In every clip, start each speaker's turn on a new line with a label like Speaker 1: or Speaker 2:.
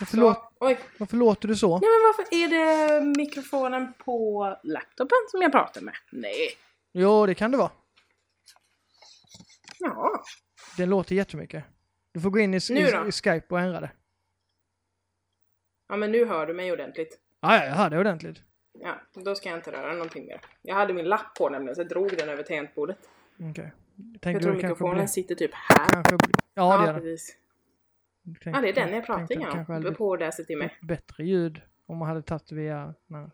Speaker 1: Varför, lå-
Speaker 2: Oj.
Speaker 1: varför låter du så?
Speaker 2: Alltså- Nej men varför är det mikrofonen på laptopen som jag pratar med? Nej.
Speaker 1: Jo, det kan det vara.
Speaker 2: Ja.
Speaker 1: Den låter jättemycket. Du får gå in i,
Speaker 2: Nu
Speaker 1: i,
Speaker 2: då?
Speaker 1: i Skype och ändra det.
Speaker 2: Ja men nu hör du mig ordentligt.
Speaker 1: Ah, ja, jag hörde ordentligt.
Speaker 2: Ja, då ska jag inte röra någonting mer. Jag hade min lapp på nämligen så jag drog den över tangentbordet.
Speaker 1: Okej. Tänkte
Speaker 2: Jag tror
Speaker 1: du kanske
Speaker 2: mikrofonen
Speaker 1: blir,
Speaker 2: sitter typ här.
Speaker 1: kanske blir, Ja, det är det.
Speaker 2: precis.
Speaker 1: Tänkte-
Speaker 2: Ja det är den jag pratar
Speaker 1: tänkte att kanske hade
Speaker 2: igenom.
Speaker 1: blivit
Speaker 2: På det sättet i mig.
Speaker 1: Bättre ljud om man hade tagit via... Nej.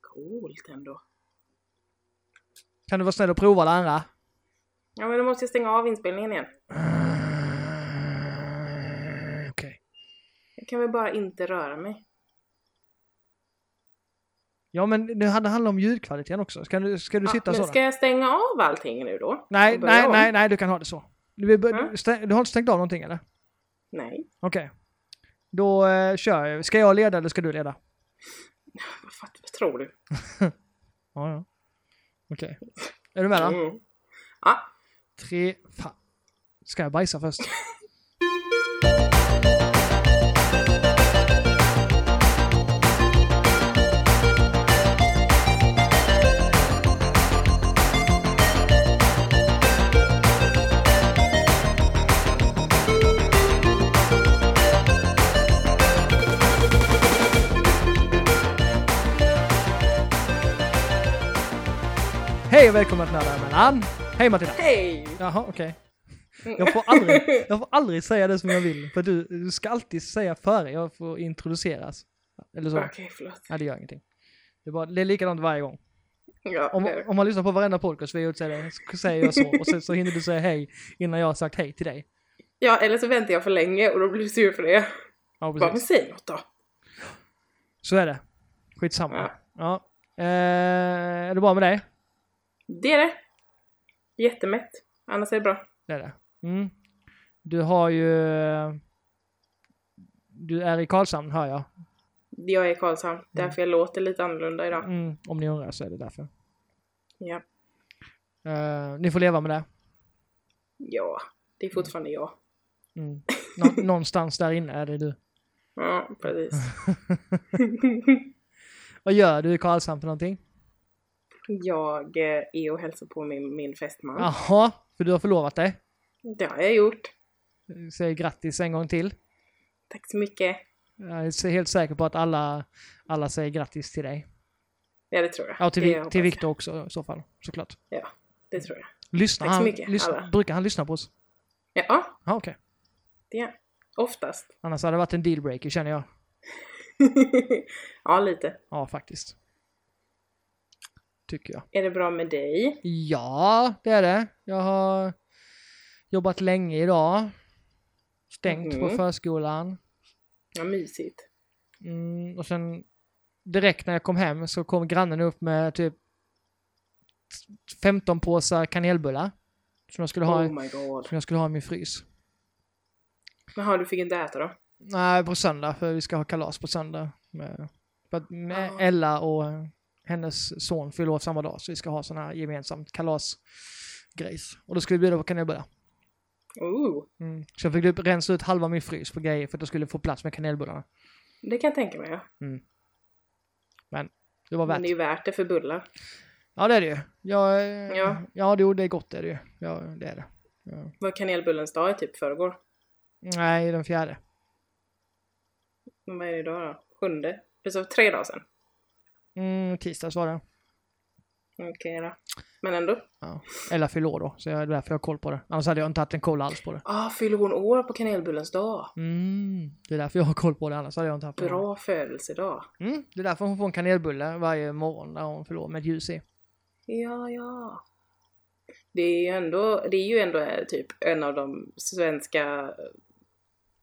Speaker 2: Coolt ändå.
Speaker 1: Kan du vara snäll och prova det andra?
Speaker 2: Ja men då måste jag stänga av inspelningen igen.
Speaker 1: Okej.
Speaker 2: Jag kan väl bara inte röra mig.
Speaker 1: Ja, men det hade handlat om ljudkvaliteten också. Ska du, ska du
Speaker 2: Ja,
Speaker 1: sitta
Speaker 2: men
Speaker 1: så? då?
Speaker 2: ska jag stänga av allting nu då?
Speaker 1: Nej,
Speaker 2: Och börja
Speaker 1: nej,
Speaker 2: om?
Speaker 1: nej, nej, du kan ha det så. Du, vill bör-
Speaker 2: Mm.
Speaker 1: stä- du har inte stängt av någonting eller?
Speaker 2: Nej.
Speaker 1: Okej. Då eh, kör jag. Ska jag leda eller ska du leda?
Speaker 2: Vad, fan, vad tror du?
Speaker 1: Ja, ja. Okej. Är du med då?
Speaker 2: Mm. Ja.
Speaker 1: Tre, fan. Ska jag bajsa först? Hej och välkomna till Nördar emellan. Hej Matilda!
Speaker 2: Hej!
Speaker 1: Jaha, okej. Jag, får aldrig, jag får aldrig säga det som jag vill, för du, du ska alltid säga före jag får introduceras. Eller så.
Speaker 2: Okej, förlåt.
Speaker 1: Nej, det gör ingenting. Det är, bara, det är likadant varje gång.
Speaker 2: Ja, det är
Speaker 1: Om,
Speaker 2: det.
Speaker 1: om man lyssnar på varenda podcast vi har gjort så är det- så säger jag så, och sen så hinner du säga hej innan jag har sagt hej till dig.
Speaker 2: ja, eller så väntar jag för länge och då blir du sur för det.
Speaker 1: Ja,
Speaker 2: Bara, men
Speaker 1: precis.
Speaker 2: säg något då.
Speaker 1: Så är det. Skitsamma. Ja. Eh, är det bra med dig?
Speaker 2: Det är det. Jättemätt. Annars är det bra.
Speaker 1: Det är det. Mm. Du har ju... eh, Du är i Karlshamn, hör jag.
Speaker 2: Jag är i Karlshamn, därför jag låter lite annorlunda idag.
Speaker 1: Mm. Om ni undrar så är det därför.
Speaker 2: Ja.
Speaker 1: Eh, ni får leva med det.
Speaker 2: ja, det är fortfarande jag.
Speaker 1: Mm. Nå- någonstans där inne är det du.
Speaker 2: Ja, precis.
Speaker 1: Vad gör du i Karlshamn för någonting?
Speaker 2: Jag eh, är och hälsar på min, min fästman.
Speaker 1: Jaha, för du har förlovat dig.
Speaker 2: Det har jag gjort.
Speaker 1: Säg grattis en gång till.
Speaker 2: Tack så mycket.
Speaker 1: Jag är helt säker på att alla, alla säger grattis till dig.
Speaker 2: Ja, det tror jag.
Speaker 1: Ja, och till,
Speaker 2: Det
Speaker 1: Vi-
Speaker 2: hoppas
Speaker 1: till
Speaker 2: jag.
Speaker 1: Viktor också i så fall, såklart.
Speaker 2: Ja, det tror jag.
Speaker 1: Lyssnar
Speaker 2: Tack så
Speaker 1: han,
Speaker 2: mycket,
Speaker 1: lyssnar,
Speaker 2: alla.
Speaker 1: brukar han lyssna på oss?
Speaker 2: Ja,
Speaker 1: Ja, okej.
Speaker 2: det oftast.
Speaker 1: Annars hade det varit en dealbreaker känner jag.
Speaker 2: ja, lite.
Speaker 1: Ja, faktiskt. Tycker jag.
Speaker 2: Är det bra med dig?
Speaker 1: Ja, det är det. Jag har jobbat länge idag. Stängt på
Speaker 2: Mhm.
Speaker 1: förskolan.
Speaker 2: Ja, mysigt.
Speaker 1: Mm, och sen direkt när jag kom hem så kom grannen upp med typ 15 påsar kanelbullar. Som jag skulle ha,
Speaker 2: Oh my god.
Speaker 1: som jag skulle ha i min frys.
Speaker 2: Jaha, du fick inte äta då?
Speaker 1: Nej, på söndag, för vi ska ha kalas på söndag. Med, för att med
Speaker 2: Ah.
Speaker 1: Ella och hennes son fyller år samma dag, så vi ska ha sån här gemensamt kalasgrejs. Och då skulle vi bjuda på kanelbullar.
Speaker 2: Oh,
Speaker 1: Mm. Så jag fick typ rensa ut halva min frys på grejer för att jag skulle få plats med kanelbullarna.
Speaker 2: det kan jag tänka mig. Ja.
Speaker 1: Det var värt
Speaker 2: Men det är ju värt det för bullar.
Speaker 1: Ja det är det ju. Jag, ja.
Speaker 2: Ja.
Speaker 1: ja jo, det är gott det är det ju. Ja, det är det. Ja.
Speaker 2: Var kanelbullens dag i typ förrgår?
Speaker 1: Nej, den fjärde.
Speaker 2: Men Vad är det idag då? Sjunde? Precis, tre dagar sedan.
Speaker 1: Mm, tisdags var det.
Speaker 2: Okej då. Men ändå.
Speaker 1: Ja. Eller fyllde år då, så jag, det är därför jag har koll på det. Annars hade jag inte haft en koll alls på det.
Speaker 2: Ah, fyller hon år på kanelbullens dag?
Speaker 1: Mm, det är därför jag har koll på det, annars hade jag inte haft det.
Speaker 2: Bra födelsedag.
Speaker 1: Mm, det är därför hon får en kanelbulle varje morgon när hon fyller år med ett ljus i.
Speaker 2: Ja, ja. Det är ju ändå, det är ju ändå eh, typ en av de svenska eh,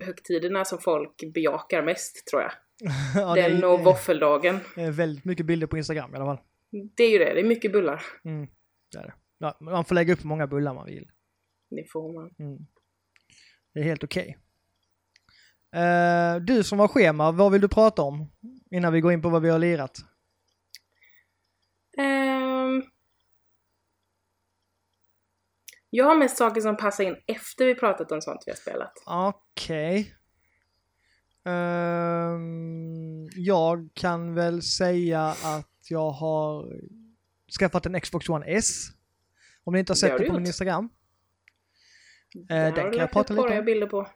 Speaker 2: högtiderna som folk bejakar mest tror jag.
Speaker 1: ja, det
Speaker 2: Den
Speaker 1: är-
Speaker 2: och våffeldagen.
Speaker 1: det är väldigt mycket bilder på Instagram i alla fall.
Speaker 2: Det är ju det, det är mycket bullar.
Speaker 1: Mm, det är det. Ja, man får lägga upp hur många bullar man vill.
Speaker 2: Det får man.
Speaker 1: Mm. Det är helt okej. Eh, du som har schema, vad vill du prata om? Innan vi går in på vad vi har lirat.
Speaker 2: Ehm, Jag har mest saker som passar in efter vi pratat om sånt vi har spelat.
Speaker 1: Okej. Ehm, jag kan väl säga att jag har skaffat en Xbox One S. Om ni inte har
Speaker 2: Det
Speaker 1: sett
Speaker 2: har
Speaker 1: det,
Speaker 2: du
Speaker 1: på min
Speaker 2: gjort.
Speaker 1: Instagram. Eh,
Speaker 2: Där
Speaker 1: den
Speaker 2: har
Speaker 1: kan
Speaker 2: du
Speaker 1: jag
Speaker 2: lagt
Speaker 1: prata
Speaker 2: upp porriga
Speaker 1: lite om.
Speaker 2: bilder på.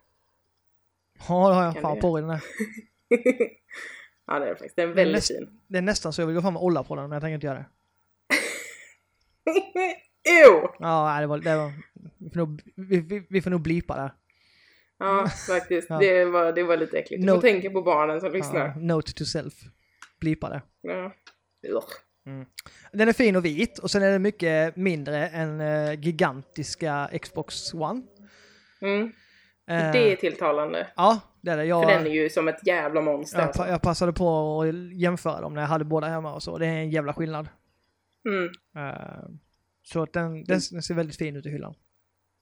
Speaker 1: Ja, det har jag
Speaker 2: Kan
Speaker 1: fan
Speaker 2: du
Speaker 1: på i den här.
Speaker 2: ja, det är det faktiskt. Den är väldigt
Speaker 1: näst-
Speaker 2: fin.
Speaker 1: Det är nästan så jag vill gå fram och olla på den, men jag tänker inte göra det.
Speaker 2: Ew!
Speaker 1: Ja, nej, det var... Det var vi, får nog, vi, vi, vi får nog blipa där.
Speaker 2: Ja, faktiskt.
Speaker 1: Mm. Ja.
Speaker 2: Det, var, det var lite äckligt. Du får
Speaker 1: No.
Speaker 2: tänka på barnen som
Speaker 1: Ja,
Speaker 2: lyssnar.
Speaker 1: note to self. Blipa det.
Speaker 2: Ja. Ugh.
Speaker 1: Den är fin och vit och sen är den mycket mindre än eh, gigantiska Xbox One.
Speaker 2: Mm.
Speaker 1: Eh,
Speaker 2: Det är tilltalande.
Speaker 1: Ja, det är det. Jag,
Speaker 2: För den är ju som ett jävla monster.
Speaker 1: jag,
Speaker 2: alltså.
Speaker 1: pa- jag passade på att jämföra dem när jag hade båda hemma och så. Det är en jävla skillnad.
Speaker 2: Mm.
Speaker 1: Eh, så att den, den, den ser väldigt fin ut i hyllan.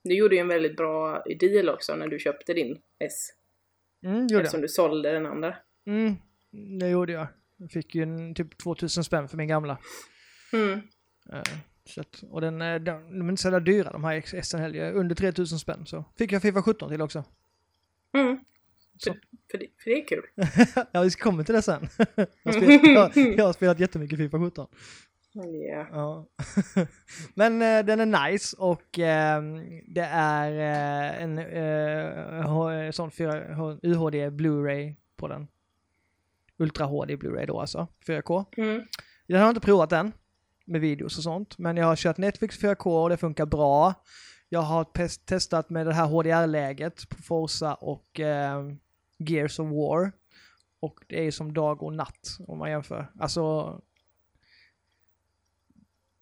Speaker 2: Du gjorde ju en väldigt bra deal också när du köpte din S.
Speaker 1: Mm, gjorde
Speaker 2: Eftersom du sålde den andra.
Speaker 1: jag. Mm, det gjorde jag. Jag fick ju en, typ 2000 spänn för min gamla.
Speaker 2: Mm.
Speaker 1: Eh, så att, och den, är- den, de är inte så jävla dyra de här XS heller. Under 3000 spänn så. Fick jag Fifa 17 till också.
Speaker 2: Mm.
Speaker 1: Så.
Speaker 2: För, för, det, för det är kul.
Speaker 1: ja, vi kommer till det sen. jag, har spelat, jag, jag har spelat jättemycket Fifa 17.
Speaker 2: Ja.
Speaker 1: Mm, Ja. Men eh, den är nice och ehm, det är eh, en eh, H- sån 4, H- UHD Blu-ray på den. Ultra HD Blu-ray då alltså, 4K.
Speaker 2: Mm.
Speaker 1: Jag har inte provat den med videos och sånt, men jag har kört Netflix 4K och det funkar bra. Jag har pes- testat med det här HDR-läget på Forza och ehm, Gears of War. Och det är ju som dag och natt om man jämför. Alltså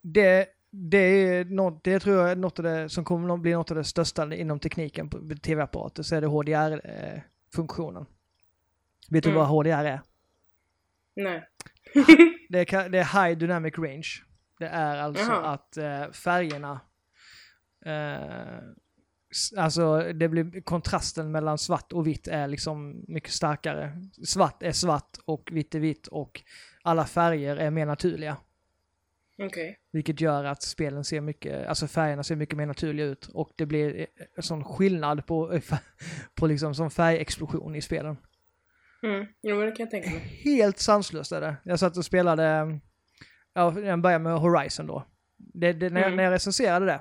Speaker 1: det, det, är något, det tror jag är något av det som kommer att bli något av det största inom tekniken på tv-apparater, så är det HDR-funktionen. eh, Vet du
Speaker 2: Mm.
Speaker 1: vad HDR är?
Speaker 2: Nej.
Speaker 1: Det är, ka- det är High Dynamic Range. Det är alltså
Speaker 2: Jaha.
Speaker 1: att eh, färgerna, eh, s- alltså det blir kontrasten mellan svart och vitt är liksom mycket starkare. Svart är svart och vitt är vitt och alla färger är mer naturliga.
Speaker 2: Okej.
Speaker 1: Vilket gör att spelen ser mycket, alltså färgerna ser mycket mer naturliga ut och det blir eh, en sån skillnad på, på liksom som färgexplosion i spelen.
Speaker 2: Mm. Jo, men det kan jag tänka mig.
Speaker 1: Helt sanslöst är det. Jag satt och spelade, ja, jag började med Horizon då. Det, det, när, jag,
Speaker 2: Mm.
Speaker 1: när jag recenserade det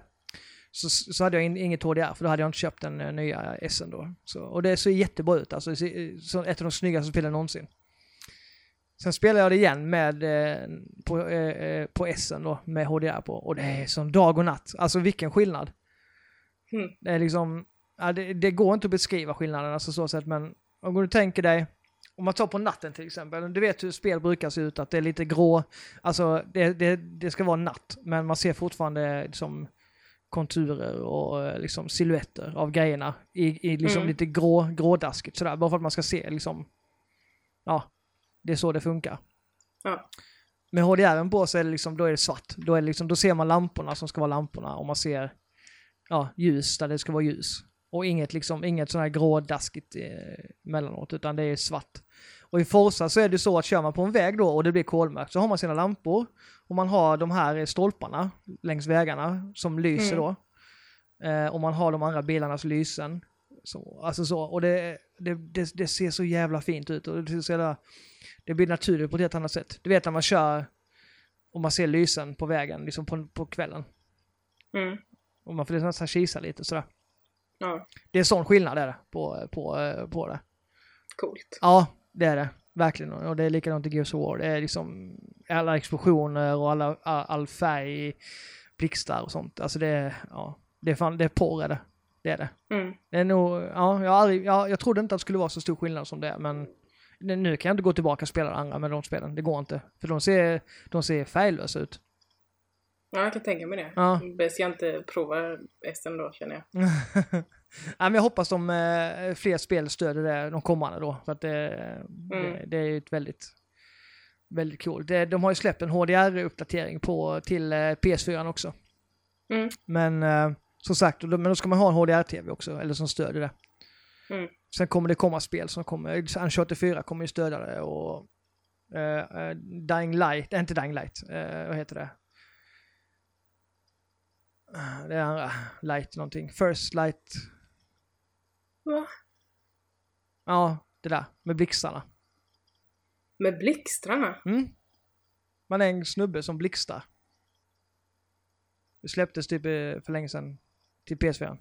Speaker 1: så, så hade jag in, inget HDR för då hade jag inte köpt den eh, nya S'en då. Så, och det ser jättebra ut alltså, det ser, så ett av de snyggaste spelen någonsin. Sen spelade jag det igen med, eh, på, eh, eh, på S'en då, med HDR på. Och det är som dag och natt. Alltså vilken skillnad.
Speaker 2: Mm.
Speaker 1: Det är liksom, ja, det, det går inte att beskriva skillnaden alltså så sätt, men om du tänker dig, om man tar på natten till exempel, du vet hur spel brukar se ut, att det är lite grå, alltså det, det, det ska vara natt, men man ser fortfarande liksom konturer och eh, liksom silhuetter av grejerna i, i liksom
Speaker 2: Mm.
Speaker 1: lite grå, grådaskigt sådär, bara för att man ska se liksom, ja, det är så det funkar.
Speaker 2: Ja.
Speaker 1: Med HDR på så är det liksom, då är det svart. Då, är det liksom, då ser man lamporna som ska vara lamporna och man ser ja, ljus där det ska vara ljus. Och inget, liksom, inget sån här grådaskigt eh, mellanåt, utan det är svart. Och i Forza så är det så att kör man på en väg då och det blir kolmörkt så har man sina lampor och man har de här eh, stolparna längs vägarna som lyser
Speaker 2: Mm.
Speaker 1: då. Eh, och man har de andra bilarnas lysen. Så, alltså så, och det, det, det, det ser så jävla fint ut och det, ser så jävla, det blir naturligt på ett helt annat sätt. Du vet när man kör och man ser lysen på vägen liksom på, på kvällen.
Speaker 2: Mm.
Speaker 1: Och man får liksom nästan kisa lite sådär.
Speaker 2: Ja,
Speaker 1: Det är sån skillnad är det på, på, eh, på det.
Speaker 2: coolt.
Speaker 1: Ja, det är det. Verkligen. Och det är likadant i Gears of War. Det är liksom alla explosioner och alla, all, all färg, blixtar och sånt. Alltså det är, ja, det är fan, det är porr är det. Det är det.
Speaker 2: Mm.
Speaker 1: Det är nog, ja, jag, har aldrig, jag, jag trodde inte att det skulle vara så stor skillnad som det är, men nu- nu kan jag inte gå tillbaka och spela det andra med de spelen. Det går inte. För de ser, de ser färglösa ut.
Speaker 2: Ja, jag kan tänka mig det.
Speaker 1: Ja.
Speaker 2: Bäst jag inte provar S ändå känner jag.
Speaker 1: Nej, men jag hoppas de eh, fler spel stöder det de kommande då. För att det, det, det är ju ett väldigt, väldigt coolt. Det, de har ju släppt en HDR-uppdatering på, till eh, PS4 också.
Speaker 2: Mm.
Speaker 1: Men eh, som sagt, och då, men då ska man ha en HDR-TV också, eller som stöder det.
Speaker 2: Mm.
Speaker 1: Sen kommer det komma spel som kommer, Uncharted 4 kommer ju stödja det och eh, eh, Dying Light, äh, inte Dying Light, eh, vad heter det? Det är andra. Light någonting. First light.
Speaker 2: Va?
Speaker 1: Ja, det där. Med blixtarna.
Speaker 2: Med blixtarna?
Speaker 1: Mm. Man är en snubbe som blixtar. Det släpptes typ eh, för länge sedan till PS4.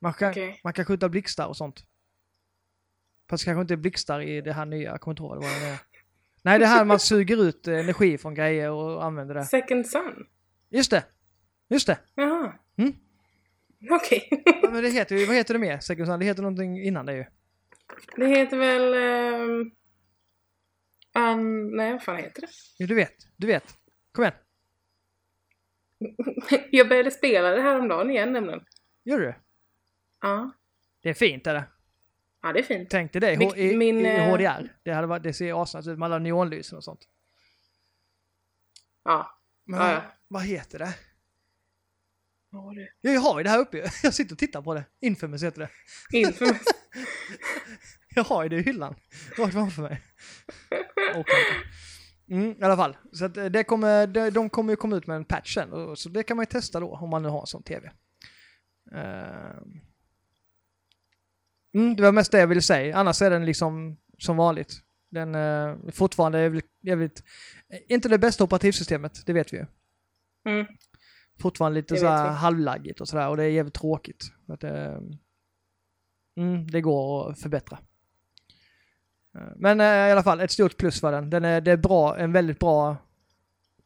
Speaker 1: Man kan,
Speaker 2: Okej.
Speaker 1: man kan skjuta blixtar och sånt. Fast det kanske inte är blixtar i det här nya, jag kommer inte ihåg vad det var det nya. Nej, det här man suger ut eh, energi från grejer och använder det.
Speaker 2: Second Sun?
Speaker 1: Just det! Just det!
Speaker 2: Jaha.
Speaker 1: Mm.
Speaker 2: Okej.
Speaker 1: Ja, men det heter, ju- vad heter det mer? Second Sun? Det heter någonting innan det ju.
Speaker 2: Det heter väl... ehm, an... Nej, vad fan heter det?
Speaker 1: Jo, du vet. Du vet. Kom igen.
Speaker 2: Jag började spela det här om dagen igen nämligen.
Speaker 1: Gör du det?
Speaker 2: Ja.
Speaker 1: Det är fint är det.
Speaker 2: Ja, det är fint.
Speaker 1: Tänk dig det i, H- i,
Speaker 2: Min,
Speaker 1: i, i
Speaker 2: eh,
Speaker 1: HDR. Det, hade varit, det ser asnice ut med alla neonlysen och sånt.
Speaker 2: Ja.
Speaker 1: Men
Speaker 2: Ja,
Speaker 1: vad-
Speaker 2: ja.
Speaker 1: vad heter det?
Speaker 2: Vad var det?
Speaker 1: Ja, Jag har ju det här uppe ju. Jag sitter och tittar på det. Infamous heter det.
Speaker 2: Inför mig.
Speaker 1: Jag har ju det i hyllan. Rakt framför mig. Orkar inte. Mm, I alla fall, så att eh, det kommer, de, de kommer ju komma ut med en patch sen, och- så det kan man ju testa då om man nu har en sån TV. Ehm. Mm, det var mest det jag ville säga, annars är den liksom som vanligt. Den eh, fortfarande är jävligt, jävligt, eh, inte det bästa operativsystemet, det vet vi ju.
Speaker 2: Mm.
Speaker 1: Fortfarande lite
Speaker 2: Det
Speaker 1: så här
Speaker 2: vet vi.
Speaker 1: halvlaggigt och sådär och det är jävligt tråkigt. För Att, eh, mm, det går att förbättra. Eh, Men eh, i alla fall, ett stort plus för den. den är, det är bra, en väldigt bra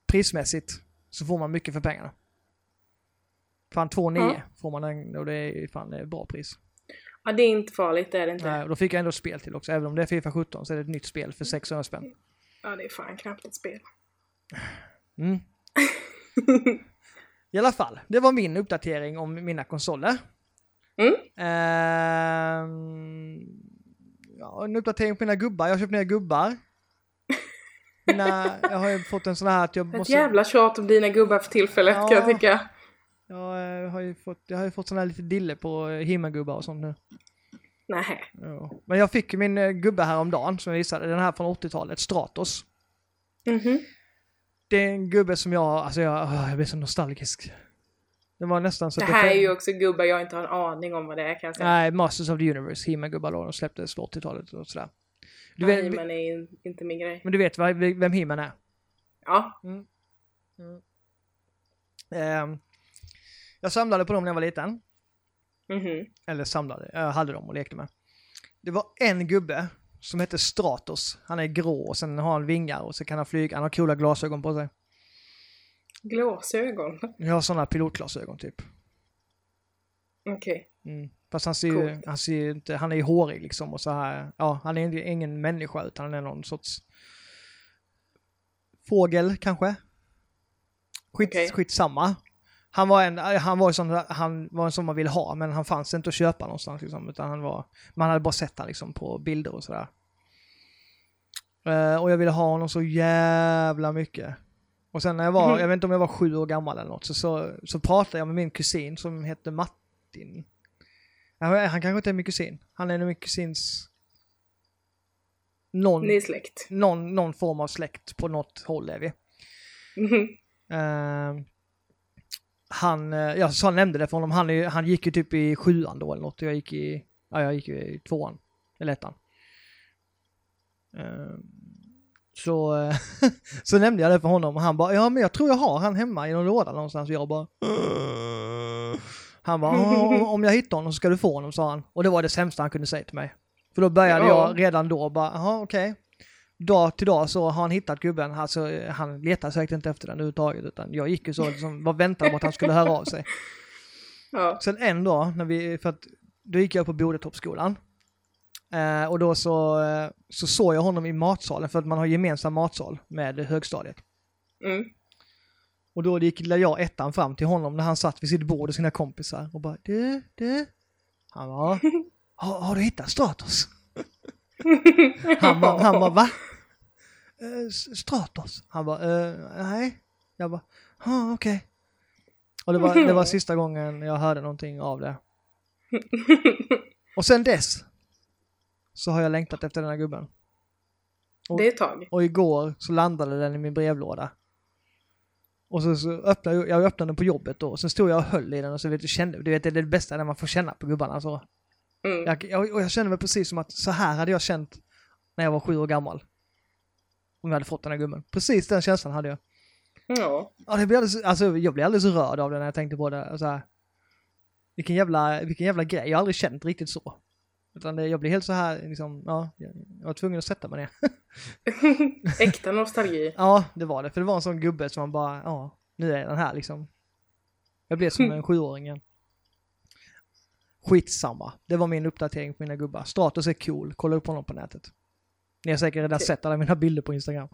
Speaker 1: prismässigt. Så får man mycket för pengarna. Fan 2,9
Speaker 2: Ja.
Speaker 1: får man den och det är ju fan ett bra pris.
Speaker 2: Ja, det är inte farligt, det är det inte.
Speaker 1: Nej, och då fick jag ändå ett spel till också. Även om det är Fifa 17 så är det ett nytt spel för 600 spänn.
Speaker 2: Ja, det är fan knappt ett spel.
Speaker 1: Mm. I alla fall, det var min uppdatering om mina konsoler.
Speaker 2: Mm.
Speaker 1: Ehm, ja, en uppdatering på mina gubbar. Jag har köpt nya gubbar. Mina, jag har ju fått en sån här att jag
Speaker 2: Ett
Speaker 1: måste...
Speaker 2: jävla tjat om dina gubbar för tillfället
Speaker 1: Ja.
Speaker 2: kan jag tycka.
Speaker 1: Jag eh, har ju fått, jag har ju fått sån här lite dille på eh, himmelgubbar och sånt nu.
Speaker 2: Nej.
Speaker 1: Ja. Men jag fick ju min eh, gubbe häromdagen som jag visade, den här från 80-talet, Stratos.
Speaker 2: Mhm.
Speaker 1: Det är en gubbe som jag, alltså jag, åh, jag blir så nostalgisk. Det var nästan så
Speaker 2: Det
Speaker 1: att jag
Speaker 2: här är
Speaker 1: själv-
Speaker 2: ju också gubbar jag inte har en aning om vad det är kan jag säga.
Speaker 1: Nej, Masters of the Universe, He-Man-gubbar då, de släpptes på 80-talet och sådär. Du
Speaker 2: Du
Speaker 1: vet,
Speaker 2: men är ju inte min grej.
Speaker 1: men du vet va- vem He-Man är?
Speaker 2: Ja.
Speaker 1: Ehm, jag samlade på dem när jag var liten.
Speaker 2: Mhm.
Speaker 1: Eller samlade, jag hade dem och lekte med. Det var en gubbe som hette Stratos. Han är grå och sen har han vingar och så kan han flyga. Han har coola glasögon på sig.
Speaker 2: Glasögon.
Speaker 1: Jag har sådana pilotglasögon typ.
Speaker 2: Okej.
Speaker 1: Mm. Fast han ser, ju,
Speaker 2: Coolt.
Speaker 1: han ser ju inte, han är ju hårig liksom och så här. Ja, han är ju ingen människa utan han är någon sorts fågel kanske. Skit,
Speaker 2: Okej.
Speaker 1: Skitsamma. Han var en, han var ju sån, han var en som man ville ha men han fanns inte att köpa någonstans liksom utan han var, man hade bara sett han liksom på bilder och sådär. Eh, och jag ville ha honom så jävla mycket. Och sen när jag var,
Speaker 2: Mhm.
Speaker 1: jag vet inte om jag var sju år gammal eller något, så, så, så pratade jag med min kusin som hette Martin. Nej, Han kanske inte är min kusin. Han är nog min kusins... Någon,
Speaker 2: Ni är släkt.
Speaker 1: någon, någon form av släkt på något håll är vi.
Speaker 2: Mhm.
Speaker 1: Eh, han, eh, jag sa, nämnde det för honom, han, är ju- han gick ju typ i sjuan då eller något och jag gick i, ja, jag gick ju i tvåan, eller ettan. Eh, så, eh, så nämnde jag det för honom och han bara, ja men jag tror jag har han hemma i någon låda någonstans och jag bara "Åh." Han bara, "Ja, om, om jag hittar honom så ska du få honom sa han. Och det var det sämsta han kunde säga till mig. För då började
Speaker 2: Ja.
Speaker 1: jag redan då bara, jaha okej dag till dag så har han hittat gubben. Alltså, eh, han letar säkert inte efter den överhuvudtaget utan jag gick ju så liksom, var väntade på att han skulle höra av sig.
Speaker 2: Ja.
Speaker 1: Sen en dag, när vi, för att, då gick jag på Bodetorpsskolan. Eh, och då så, eh, så såg jag honom i matsalen för att man har gemensam matsal med högstadiet.
Speaker 2: Mm.
Speaker 1: Och då gick lilla jag ettan fram till honom när han satt vid sitt bord och sina kompisar och bara du, du. Han bara, har, har du hittat Stratos? Han bara, han bara va? Eh, S- Stratos? Han bara, eh, nej. Jag bara, ja okej. Och det var, det var sista gången jag hörde någonting av det. Och sen dess så har jag längtat efter den här gubben.
Speaker 2: Det är ett tag.
Speaker 1: Och igår så landade den i min brevlåda. Och så, så öppnade jag, jag öppnade den på jobbet då, och sen stod jag och höll i den och så vet, du, kände, du vet det är det bästa när man får känna på gubbarna. Så.
Speaker 2: Mm.
Speaker 1: Jag, jag, och jag kände mig precis som att så här hade jag känt när jag var sju år gammal. Om jag hade fått den här gummen. Precis den känslan hade jag.
Speaker 2: Ja.
Speaker 1: Ja, det blir alldeles, alltså, jag blev alldeles rörd av det när jag tänkte på det. Så här. Vilken, jävla, vilken jävla grej, jag har aldrig känt riktigt så. Utan det, jag blev helt så här, liksom, ja, jag, jag var tvungen att sätta mig ner.
Speaker 2: Äkta nostalgi.
Speaker 1: Ja, det var det. För det var en sån gubbe som man bara, ja, nu är den här liksom. Jag blev som en sjuåring igen. Skitsamma. Det var min uppdatering på mina gubbar. Stratos är cool, kolla upp honom på nätet. Ni har säkert redan sett alla mina bilder på Instagram.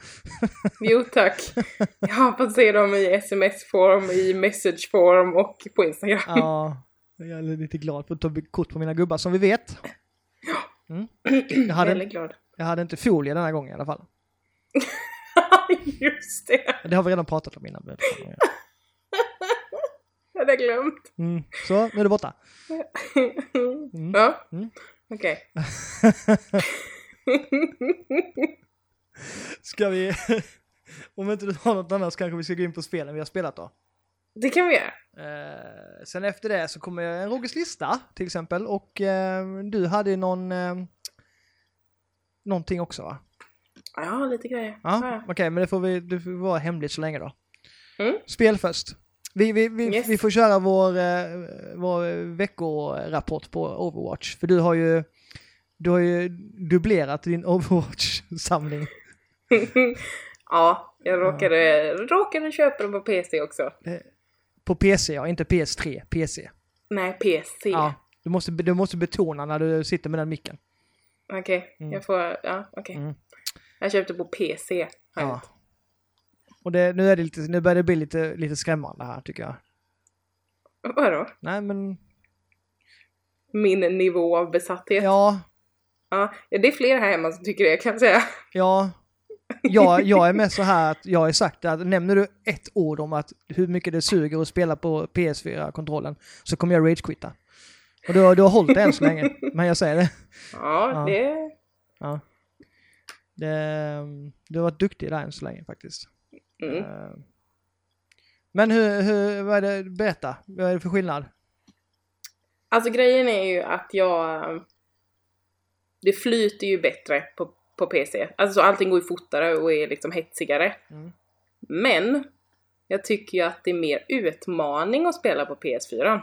Speaker 2: Jo tack. Jag har fått se dem i sms-form, i message-form och på Instagram.
Speaker 1: Ja, jag är lite glad för att ta kort på mina gubbar som vi vet. Mm. Jag, hade,
Speaker 2: Väldigt glad.
Speaker 1: jag hade inte folie den här gången i alla fall.
Speaker 2: Just det.
Speaker 1: Det har vi redan pratat om innan.
Speaker 2: Jag hade glömt.
Speaker 1: Mm. Så, nu är det borta. Mm.
Speaker 2: Ja.
Speaker 1: Mm.
Speaker 2: Okej.
Speaker 1: Ska vi... Om inte du har något annat så kanske vi ska gå in på spelen vi har spelat då.
Speaker 2: Det kan vi göra.
Speaker 1: Eh, sen efter det så kommer en Rogers lista till exempel och eh, du hade ju någon... Eh, någonting också va?
Speaker 2: Ja, lite grejer.
Speaker 1: Ja,
Speaker 2: Ja, ja.
Speaker 1: okej, men det får, vi, det får vara hemligt så länge då.
Speaker 2: Mm.
Speaker 1: Spel först. Vi, vi, vi,
Speaker 2: Yes.
Speaker 1: vi får köra vår, eh, vår veckorapport på Overwatch, för du har ju, du har ju dubblerat din Overwatch-samling.
Speaker 2: Ja, jag råkade, råkade köpa dem på PC också.
Speaker 1: Eh, På PC, ja, inte PS3, PC.
Speaker 2: Nej, PC.
Speaker 1: Ja, du, måste, du måste betona när du sitter med den micken.
Speaker 2: Okej, jag får... Ja, okej.
Speaker 1: Mm.
Speaker 2: Jag köpte på PC. har jag gjort.
Speaker 1: Och det, nu, är det lite, nu börjar det bli lite, lite skrämmande här tycker jag.
Speaker 2: Vadå?
Speaker 1: Nej men,
Speaker 2: Min nivå av besatthet. Ja.
Speaker 1: ja,
Speaker 2: det är fler här hemma som tycker det kan jag säga.
Speaker 1: Ja, jag, jag är med så här att jag har sagt att nämner du ett ord om att hur mycket det suger att spela på PS4-kontrollen så kommer jag ragequitta. Och du har, du har hållit det än så länge, men jag säger det.
Speaker 2: Ja,
Speaker 1: Ja.
Speaker 2: det...
Speaker 1: Ja. det du har varit duktig där än så länge faktiskt.
Speaker 2: Mm.
Speaker 1: Eh, Men hur, hur, vad är det, berätta, vad är det för skillnad?
Speaker 2: Alltså grejen är ju att jag... Det flyter ju bättre på, på PC. Alltså så allting går ju fortare och är liksom hetsigare.
Speaker 1: Mm.
Speaker 2: Men jag tycker ju att det är mer utmaning att spela på PS4.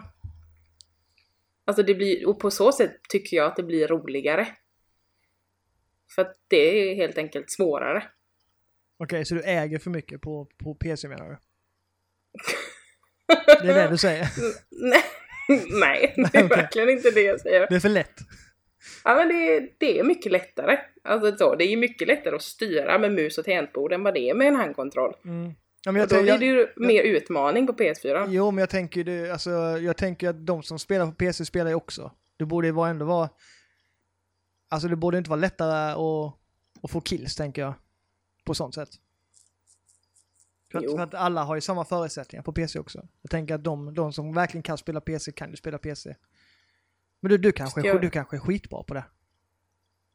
Speaker 2: Alltså det blir, och på så sätt tycker jag att det blir roligare. För att det är helt enkelt svårare.
Speaker 1: Okej, så du äger för mycket på, på PC menar du? Det är det du säger?
Speaker 2: Nej, nej, det är
Speaker 1: okej.
Speaker 2: verkligen inte det jag säger.
Speaker 1: Det är för lätt?
Speaker 2: Ja men det, det är mycket lättare. Alltså så, det är ju mycket lättare att styra med mus och tangentbord än vad det är med en handkontroll.
Speaker 1: Mm. Ja, men jag
Speaker 2: och då
Speaker 1: tror-
Speaker 2: blir
Speaker 1: jag-
Speaker 2: det ju mer utmaning på PS4.
Speaker 1: Jo, men jag tänker, ju det, alltså, jag tänker att de som spelar på PC spelar ju också. Det borde ju vara ändå vara... Alltså det borde inte vara lättare att, att få kills, tänker jag. På sånt sätt. För att,
Speaker 2: Jo.
Speaker 1: för att alla har ju samma förutsättningar på PC också. Jag tänker att de, de som verkligen kan spela PC kan ju spela PC. Men du, du, kanske,
Speaker 2: Ska jag-
Speaker 1: är- du kanske är skitbra på det.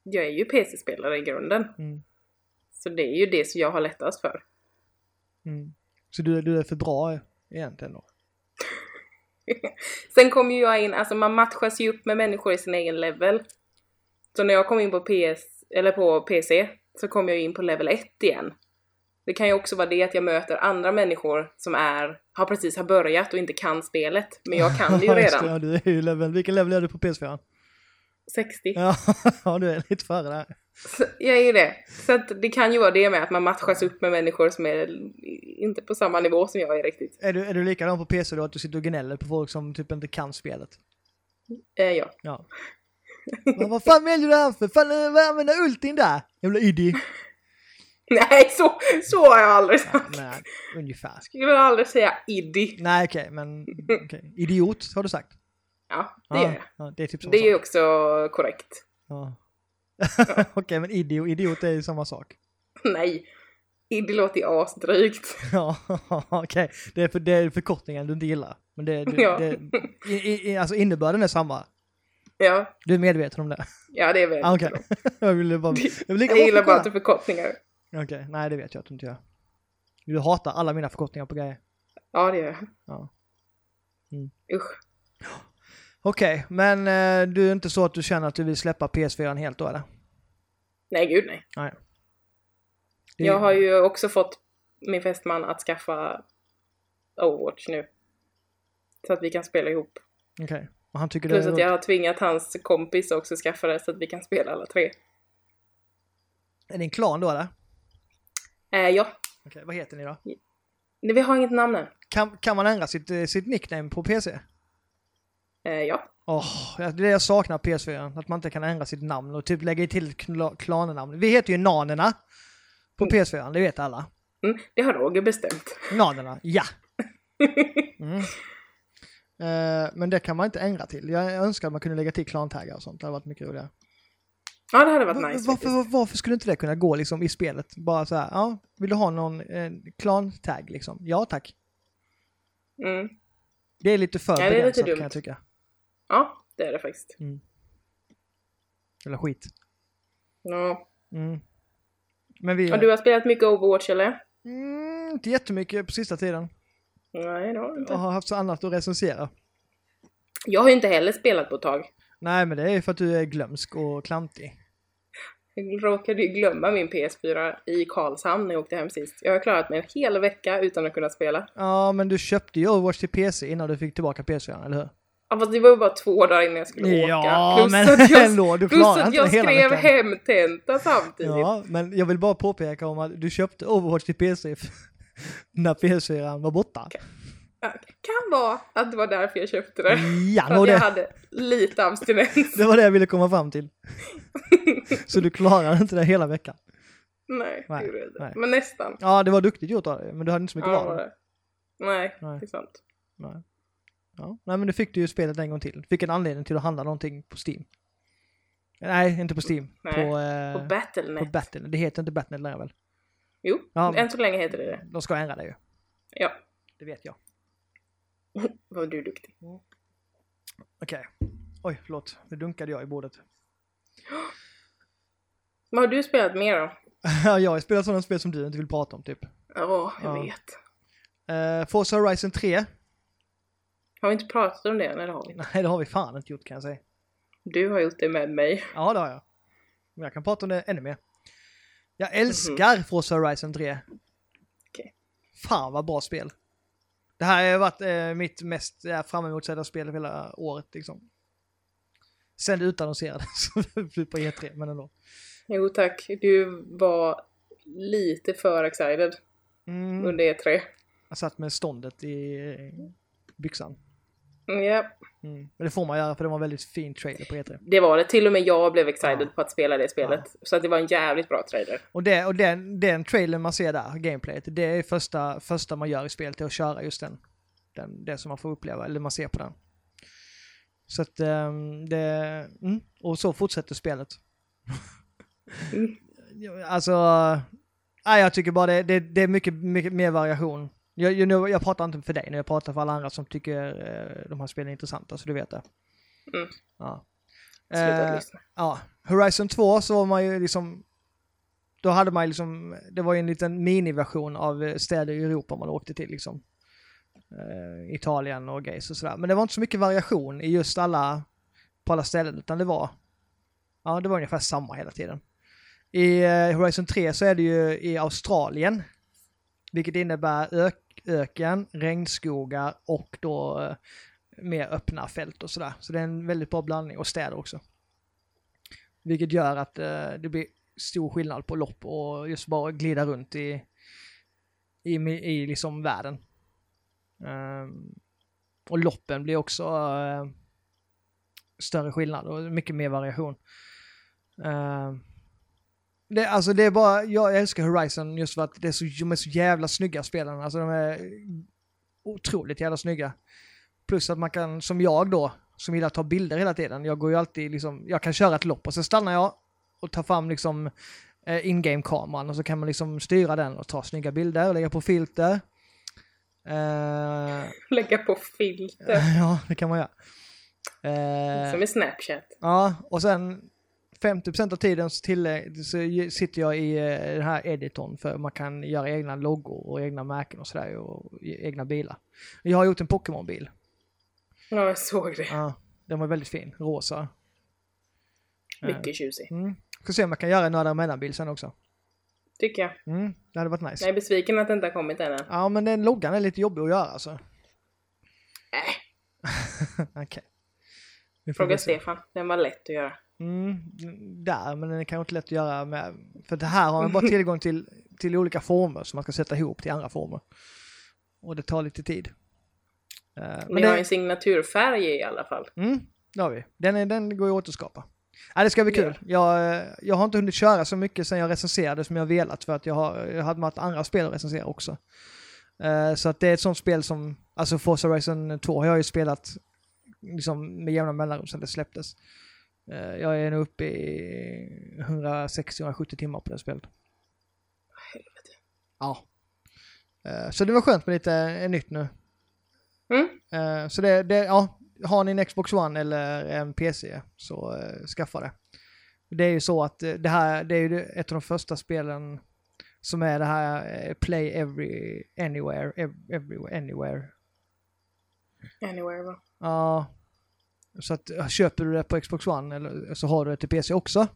Speaker 2: Jag är ju PC-spelare i grunden.
Speaker 1: Mm.
Speaker 2: Så det är ju det som jag har lättast för.
Speaker 1: Mm. Så du, du är för bra egentligen då?
Speaker 2: Sen kommer ju jag in, alltså man matchas ju upp med människor i sin egen level. Så när jag kom in på PS, eller på PC, så kom jag ju in på level 1 igen. Det kan ju också vara det att jag möter andra människor som är, har precis har börjat och inte kan spelet. Men jag kan det ju
Speaker 1: Ja, just
Speaker 2: redan.
Speaker 1: Ja, du är ju level. Vilken level är du på PS4?
Speaker 2: 60.
Speaker 1: Ja, ja du är lite före där.
Speaker 2: Så jag är ju det. Så att det kan ju vara det med att man matchas upp med människor som är inte på samma nivå som jag är riktigt.
Speaker 1: Är du, är du likadan på PC då, att du sitter och gnäller på folk som typ inte kan spelet?
Speaker 2: Eh, ja.
Speaker 1: Ja. Men vad fan väljer du här för? Fan, eh, vad använder ultin där? Jävla iddi.
Speaker 2: Nej, så, så har jag aldrig sagt.
Speaker 1: Nej, eh, ungefär.
Speaker 2: Jag skulle aldrig säga iddi.
Speaker 1: Nej, okej, men okej. idiot har du sagt.
Speaker 2: Ja, det gör jag.
Speaker 1: ja, det är typ samma
Speaker 2: Det är ju
Speaker 1: sak.
Speaker 2: också korrekt.
Speaker 1: Ja. okej, men iddi och idiot är ju samma sak.
Speaker 2: Nej, det låter ju asdrygt.
Speaker 1: Ja, okej. Det är för Det är förkortningen du inte gillar. Men det, du,
Speaker 2: Ja.
Speaker 1: det, i, i- i, alltså innebörden är samma.
Speaker 2: Ja,
Speaker 1: Du är medveten om det?
Speaker 2: Eh, ja det är väl.
Speaker 1: Ah, okej. jag ville bara... Jag, ville
Speaker 2: Jag gillar bara
Speaker 1: kolla.
Speaker 2: inte förkortningar.
Speaker 1: Okej, nej det vet jag att du inte gör. Du hatar alla mina förkortningar på grejer.
Speaker 2: Ja, det gör jag.
Speaker 1: Ja. Mm.
Speaker 2: Usch.
Speaker 1: Okej, men eh, du är inte så att du känner att du vill släppa PS4 helt då eller?
Speaker 2: Nej, gud nej.
Speaker 1: Det är-
Speaker 2: Jag har ju också fått min fästman att skaffa Overwatch nu. Så att vi kan spela ihop.
Speaker 1: Okej, och han tycker det
Speaker 2: Plus
Speaker 1: är
Speaker 2: att
Speaker 1: roligt?
Speaker 2: jag har tvingat hans kompis också skaffa det så att vi kan spela alla tre.
Speaker 1: Är det en klan då eller?
Speaker 2: Eh, ja,
Speaker 1: Okej, vad heter ni då?
Speaker 2: Nej, vi har inget namn än.
Speaker 1: Kan, kan man ändra sitt, eh, sitt nickname på PC?
Speaker 2: Eh, ja.
Speaker 1: Åh, det är det jag saknar på PS4, att man inte kan ändra sitt namn och typ lägga till ett kla- klannamn. Vi heter ju Nanerna på PS4, det vet alla.
Speaker 2: Mm, det har Roger bestämt.
Speaker 1: Nanerna, ja! Mm. Eh, men det kan man inte ändra till. Jag jag önskar att man kunde lägga till klantaggar och sånt, det hade varit mycket roligare.
Speaker 2: Ja, det hade varit
Speaker 1: Va-
Speaker 2: nice
Speaker 1: varför,
Speaker 2: faktiskt.
Speaker 1: var- varför skulle inte det kunna gå liksom, i spelet? Bara så här, ja, vill du ha någon eh, klantagg liksom? Ja tack.
Speaker 2: Mm.
Speaker 1: Det är lite för
Speaker 2: Ja, det är lite
Speaker 1: begränsat
Speaker 2: dumt.
Speaker 1: kan jag tycka.
Speaker 2: Ja, det är det faktiskt.
Speaker 1: Eller skit.
Speaker 2: Ja.
Speaker 1: Mm. Men vi...
Speaker 2: Och du har spelat mycket Overwatch eller?
Speaker 1: Mm, inte jättemycket på sista tiden.
Speaker 2: Nej, det har jag
Speaker 1: Jag
Speaker 2: inte.
Speaker 1: har haft så annat att recensera.
Speaker 2: Jag har ju inte heller spelat på ett tag.
Speaker 1: Nej, men det är för att du är glömsk och klantig.
Speaker 2: Jag råkade ju glömma min PS4 i Karlshamn när jag åkte hem sist. Jag har klarat mig en hel vecka utan att kunna spela.
Speaker 1: Ja, men du köpte ju Overwatch till PC innan du fick tillbaka PS4, eller hur?
Speaker 2: Ja, fast det var ju bara två dagar innan jag skulle
Speaker 1: Ja,
Speaker 2: åka. Plus
Speaker 1: men
Speaker 2: att jag,
Speaker 1: ändå, du
Speaker 2: plus
Speaker 1: klarar
Speaker 2: att
Speaker 1: inte
Speaker 2: jag
Speaker 1: det hela
Speaker 2: skrev
Speaker 1: veckan.
Speaker 2: hemtenta samtidigt. Ja.
Speaker 1: Ja, men jag vill bara påpeka om att du köpte Overwatch till PC f- när PS4 var borta.
Speaker 2: Kan vara att det var därför jag köpte det.
Speaker 1: Ja,
Speaker 2: För
Speaker 1: och
Speaker 2: att jag
Speaker 1: det,
Speaker 2: hade lite abstinens.
Speaker 1: det var det jag ville komma fram till. Så du klarar inte det hela veckan.
Speaker 2: Nej,
Speaker 1: Nej,
Speaker 2: det gjorde jag inte.
Speaker 1: nej.
Speaker 2: Men nästan.
Speaker 1: Ja, det var duktigt gjort av dig, men du hade inte så mycket
Speaker 2: Ja, det
Speaker 1: val.
Speaker 2: var det. Nej,
Speaker 1: Nej.
Speaker 2: det är sant.
Speaker 1: Nej. Ja. Nej, men du fick du ju spelet en gång till. Du fick en anledning till att handla någonting på Steam. Nej, inte på Steam.
Speaker 2: Nej,
Speaker 1: På, eh,
Speaker 2: Och Battlenet.
Speaker 1: på Battle. Det heter inte Battle längre väl?
Speaker 2: Jo,
Speaker 1: Ja, men-
Speaker 2: än så länge heter det det.
Speaker 1: De ska ändra det ju.
Speaker 2: Ja,
Speaker 1: Det vet jag.
Speaker 2: vad du är duktig.
Speaker 1: Okej. Oj, förlåt. Nu dunkade jag i bordet.
Speaker 2: Vad har du spelat mer då?
Speaker 1: Ja, jag har spelat sådana spel som du inte vill prata om typ.
Speaker 2: Ja, jag
Speaker 1: Ja.
Speaker 2: vet.
Speaker 1: Uh, Forza Horizon 3.
Speaker 2: Har vi inte pratat om det än, eller har vi? inte?
Speaker 1: Nej, det har vi fan inte gjort kan jag säga.
Speaker 2: Du har gjort det med mig.
Speaker 1: Ja, det har jag. Men jag kan prata om det ännu mer. Jag älskar Forza Horizon 3.
Speaker 2: Okej.
Speaker 1: Fan vad bra spel. Det här har ju varit eh, mitt mest eh, fram emotsedda spel hela året. Liksom. Sen det utannonserades på E3, men ändå.
Speaker 2: Jo tack, du var lite för excited
Speaker 1: Mm.
Speaker 2: under E E3.
Speaker 1: Jag satt med ståndet i eh, byxan.
Speaker 2: Mm, Ja,
Speaker 1: Mm. Men det får man göra för det var en väldigt fin trailer på E E3.
Speaker 2: det var det. Till och med jag blev excited
Speaker 1: Ja.
Speaker 2: på att spela det spelet. Så att det var en jävligt bra trailer.
Speaker 1: Och, det, och den, den trailern man ser där, gameplayet, det är första, första man gör i spelet, är att köra just den, den. Det som man får uppleva, eller man ser på den. Så att ehm, det... Mm, och så fortsätter spelet.
Speaker 2: Mm.
Speaker 1: Ja, alltså... Nej, jag tycker bara det, det, det är mycket, mycket mer variation. Jag, jag, nu- jag pratar inte för dig nu, jag pratar för alla andra som tycker eh, de här spelen är intressanta, så du vet det.
Speaker 2: Mm.
Speaker 1: Ja.
Speaker 2: Sluta
Speaker 1: Eh,
Speaker 2: lyssna.
Speaker 1: Ja, Horizon 2 så var man ju liksom... Då hade man ju liksom, det var ju en liten miniversion av eh, städer i Europa man åkte till liksom. Eh, Italien och grejs och sådär. Men det var inte så mycket variation i just alla, på alla ställen utan det var, ja det var ungefär samma hela tiden. I eh, Horizon 3 så är det ju i Australien. Vilket innebär ök, öken, regnskogar och då eh, mer öppna fält och sådär. Så det är en väldigt bra blandning och städer också. Vilket gör att eh, det blir stor skillnad på lopp och just bara glida runt i, i, mi- i liksom världen. Ehm, och loppen blir också eh, större skillnad och mycket mer variation. Ehm, det, alltså det är bara, jag älskar Horizon just för att det är så, de är så jävla snygga spelen. Alltså de är otroligt jävla snygga. Plus att man kan, som jag då, som gillar att ta bilder hela tiden. Jag går ju alltid liksom, jag kan köra ett lopp och sen stannar jag och tar fram liksom eh, in-game-kameran och så kan man liksom styra den och ta snygga bilder, lägga på filter. Eh,
Speaker 2: Lägga på filter.
Speaker 1: ja, det kan man göra. Eh,
Speaker 2: Som i Snapchat.
Speaker 1: Ja, och sen 50% av tiden så, till, så ju- sitter jag i eh, den här editorn för man kan göra egna loggor och egna märken och sådär och e- egna bilar. Jag har gjort en Pokémon-bil.
Speaker 2: Ja, jag såg det.
Speaker 1: Ja, den var väldigt fin, rosa.
Speaker 2: Mycket tjusig.
Speaker 1: Mm. Ska se om jag kan göra en Nördar Mellan-bil sen också.
Speaker 2: Tycker jag.
Speaker 1: Mm. Det hade varit nice.
Speaker 2: Jag är besviken att det inte har kommit än. än.
Speaker 1: Ja men den loggan är lite jobbig att göra alltså.
Speaker 2: Äh,
Speaker 1: Okej. Vi får
Speaker 2: fråga
Speaker 1: väl se.
Speaker 2: Stefan. Den var lätt att göra.
Speaker 1: Mm, där, men den är kanske inte lätt att göra med. För det här har man bara tillgång till, till olika former som man ska sätta ihop till andra former. Och det tar lite tid. Eh,
Speaker 2: Men jag har en signaturfärg i alla fall.
Speaker 1: Mm, det har vi. Den, är, den går ju att återskapa. Ja, det ska bli kul. Jag, eh, jag har inte hunnit köra så mycket sen jag recenserade som jag velat för att jag, har, jag hade haft andra spel att recensera också. Eh, så att det är ett sånt spel som, alltså Forza Horizon 2 har jag ju spelat liksom med jämna mellanrum sedan det släpptes. Eh, jag är nu uppe i 160-170 timmar på det spelet.
Speaker 2: Helvete.
Speaker 1: Ja. Eh, så det var skönt med lite eh, nytt nu.
Speaker 2: Mm.
Speaker 1: Eh, Så det, det, ja, har ni en Xbox One eller en PC så eh, skaffa det. Det är ju så att eh, det här det är ju det- ett av de första spelen som är det här eh, Play Every Anywhere, ev- everywhere, Anywhere.
Speaker 2: Anywhere va?
Speaker 1: Ja. Så att eh, köper du det på Xbox One eller, så har du det till PC också.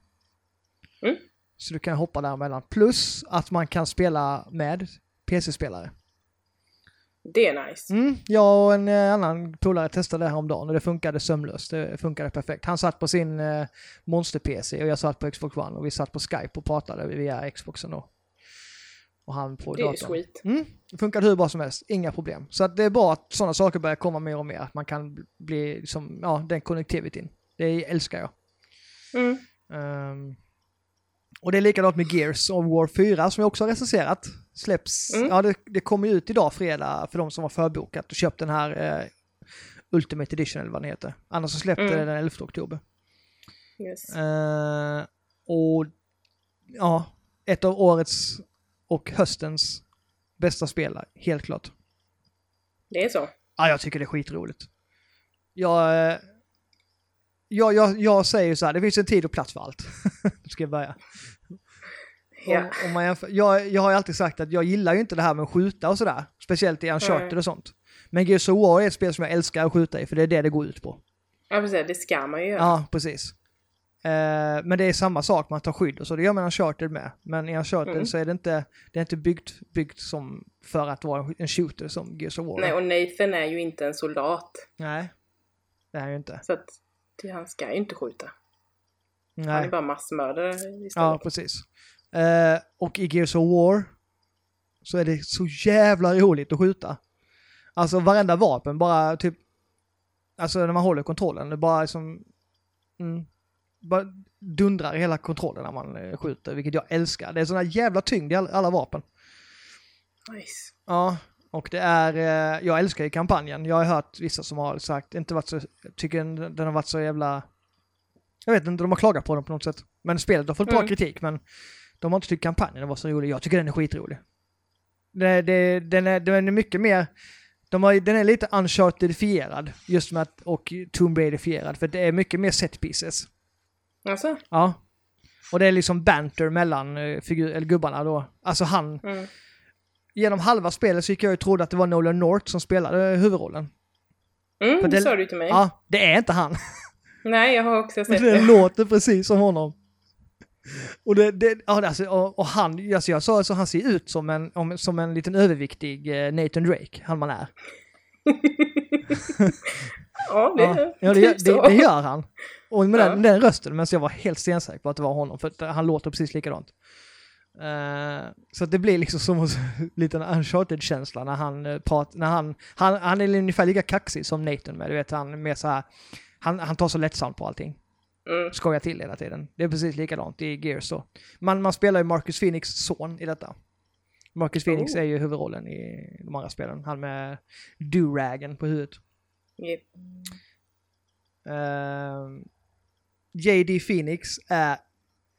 Speaker 2: Mm.
Speaker 1: Så du kan hoppa däremellan. Plus att man kan spela med PC-spelare.
Speaker 2: Det är nice.
Speaker 1: Mm, jag och en eh, annan polare testade det här om dagen och det funkade sömlöst. Det funkade perfekt. Han satt på sin eh, Monster-PC och jag satt på Xbox One och vi satt på Skype och pratade via Xboxen då. Och han på
Speaker 2: det är ju
Speaker 1: datorn.
Speaker 2: sweet.
Speaker 1: Mm, det funkade hur bra som helst, inga problem. Så att det är bra att sådana saker börjar komma mer och mer. Att man kan bli som, ja, den connectivityn. Det älskar jag.
Speaker 2: Mm.
Speaker 1: Ehm, och det är likadant med Gears of War 4 som jag också har recenserat. Släpps,
Speaker 2: Mm.
Speaker 1: ja det, det kommer ju ut idag fredag för de som har förbokat och köpt den här eh, Ultimate Edition eller vad den heter. Annars så släppte
Speaker 2: Mm.
Speaker 1: det den 11 oktober.
Speaker 2: Yes.
Speaker 1: Eh, och ja, ett av årets och höstens bästa spel, helt klart.
Speaker 2: Det är så.
Speaker 1: Ja, jag tycker det är skitroligt. Jag, eh, jag, jag, jag säger ju så här, det finns en tid och plats för allt. Nu ska jag börja.
Speaker 2: Ja.
Speaker 1: Om, om man jämför, jag, jag har ju alltid sagt att jag gillar ju inte det här med att skjuta och sådär. Speciellt i Uncharted
Speaker 2: Nej.
Speaker 1: och sånt. Men Gears of War är ett spel som jag älskar att skjuta i, för det är det det går ut på.
Speaker 2: Jag vill säga, det ska man ju göra.
Speaker 1: Ja, precis. Eh, men det är samma sak, man tar skydd och så. Det gör man i Uncharted med. Men i Uncharted
Speaker 2: Mm.
Speaker 1: så är det inte, det är inte byggt, byggt som för att vara en shooter som Gears of War.
Speaker 2: Nej, och Nathan är ju inte en soldat.
Speaker 1: Nej. Det här är ju inte.
Speaker 2: Så att det, han ska ju inte skjuta. Han är
Speaker 1: Nej.
Speaker 2: bara massmördare istället.
Speaker 1: Ja, precis. Eh, och i Gears of War så är det så jävla roligt att skjuta. Alltså varenda vapen bara typ, alltså när man håller kontrollen, det bara som, mm, bara dundrar i hela kontrollen när man eh, skjuter, vilket jag älskar. Det är sån här jävla tyngd i all- alla vapen.
Speaker 2: Nice.
Speaker 1: Ja, och det är, eh, jag älskar ju kampanjen. Jag har hört vissa som har sagt, inte varit så, tycker den den har varit så jävla, jag vet inte, de har klagat på den på något sätt. Men spelet har fått bra
Speaker 2: Mm.
Speaker 1: kritik, men de har inte tyckt kampanjen var så rolig. Jag tycker den är skitrolig. Det, det, den, är, den är mycket mer, de har, ju- den är lite uncharted-fierad just med att, och Tomb Raider-fierad, för det är mycket mer set pieces.
Speaker 2: Alltså?
Speaker 1: Ja. Och det är liksom banter mellan eh, figur, eller gubbarna då. Alltså han,
Speaker 2: Mm.
Speaker 1: genom halva spelet så gick jag och trodde att det var Nolan North som spelade huvudrollen.
Speaker 2: Mm,
Speaker 1: För
Speaker 2: det
Speaker 1: det-
Speaker 2: sa du till mig.
Speaker 1: Ja, det är inte han.
Speaker 2: Nej, jag har också sett
Speaker 1: Men det
Speaker 2: det.
Speaker 1: låter precis som honom. Och, det, det, ja, det- alltså, och, och han, alltså jag sa alltså, han ser ut som en, om, som en liten överviktig eh, Nathan Drake, han man är.
Speaker 2: Ja, det,
Speaker 1: Ja,
Speaker 2: är
Speaker 1: ja det,
Speaker 2: typ
Speaker 1: gör-
Speaker 2: så.
Speaker 1: det, det gör han. Och med
Speaker 2: Ja.
Speaker 1: den, den rösten, men så jag var helt stensäker på att det var honom, för att han låter precis likadant. Eh, så att det blir liksom som en liten uncharted-känsla när han eh, pratar, när han, han, han är ungefär lika kaxig som Nathan med, du vet, han är mer så här, han, han tar så lättsamt på allting
Speaker 2: Mm.
Speaker 1: skojar till hela tiden. Det är precis likadant i Gears då. Man, man spelar ju Marcus Phoenix son i detta. Marcus Phoenix
Speaker 2: Oh.
Speaker 1: är ju huvudrollen i de andra spelen. Han med do-ragen på huvudet.
Speaker 2: Yep.
Speaker 1: Ehm, JD Phoenix är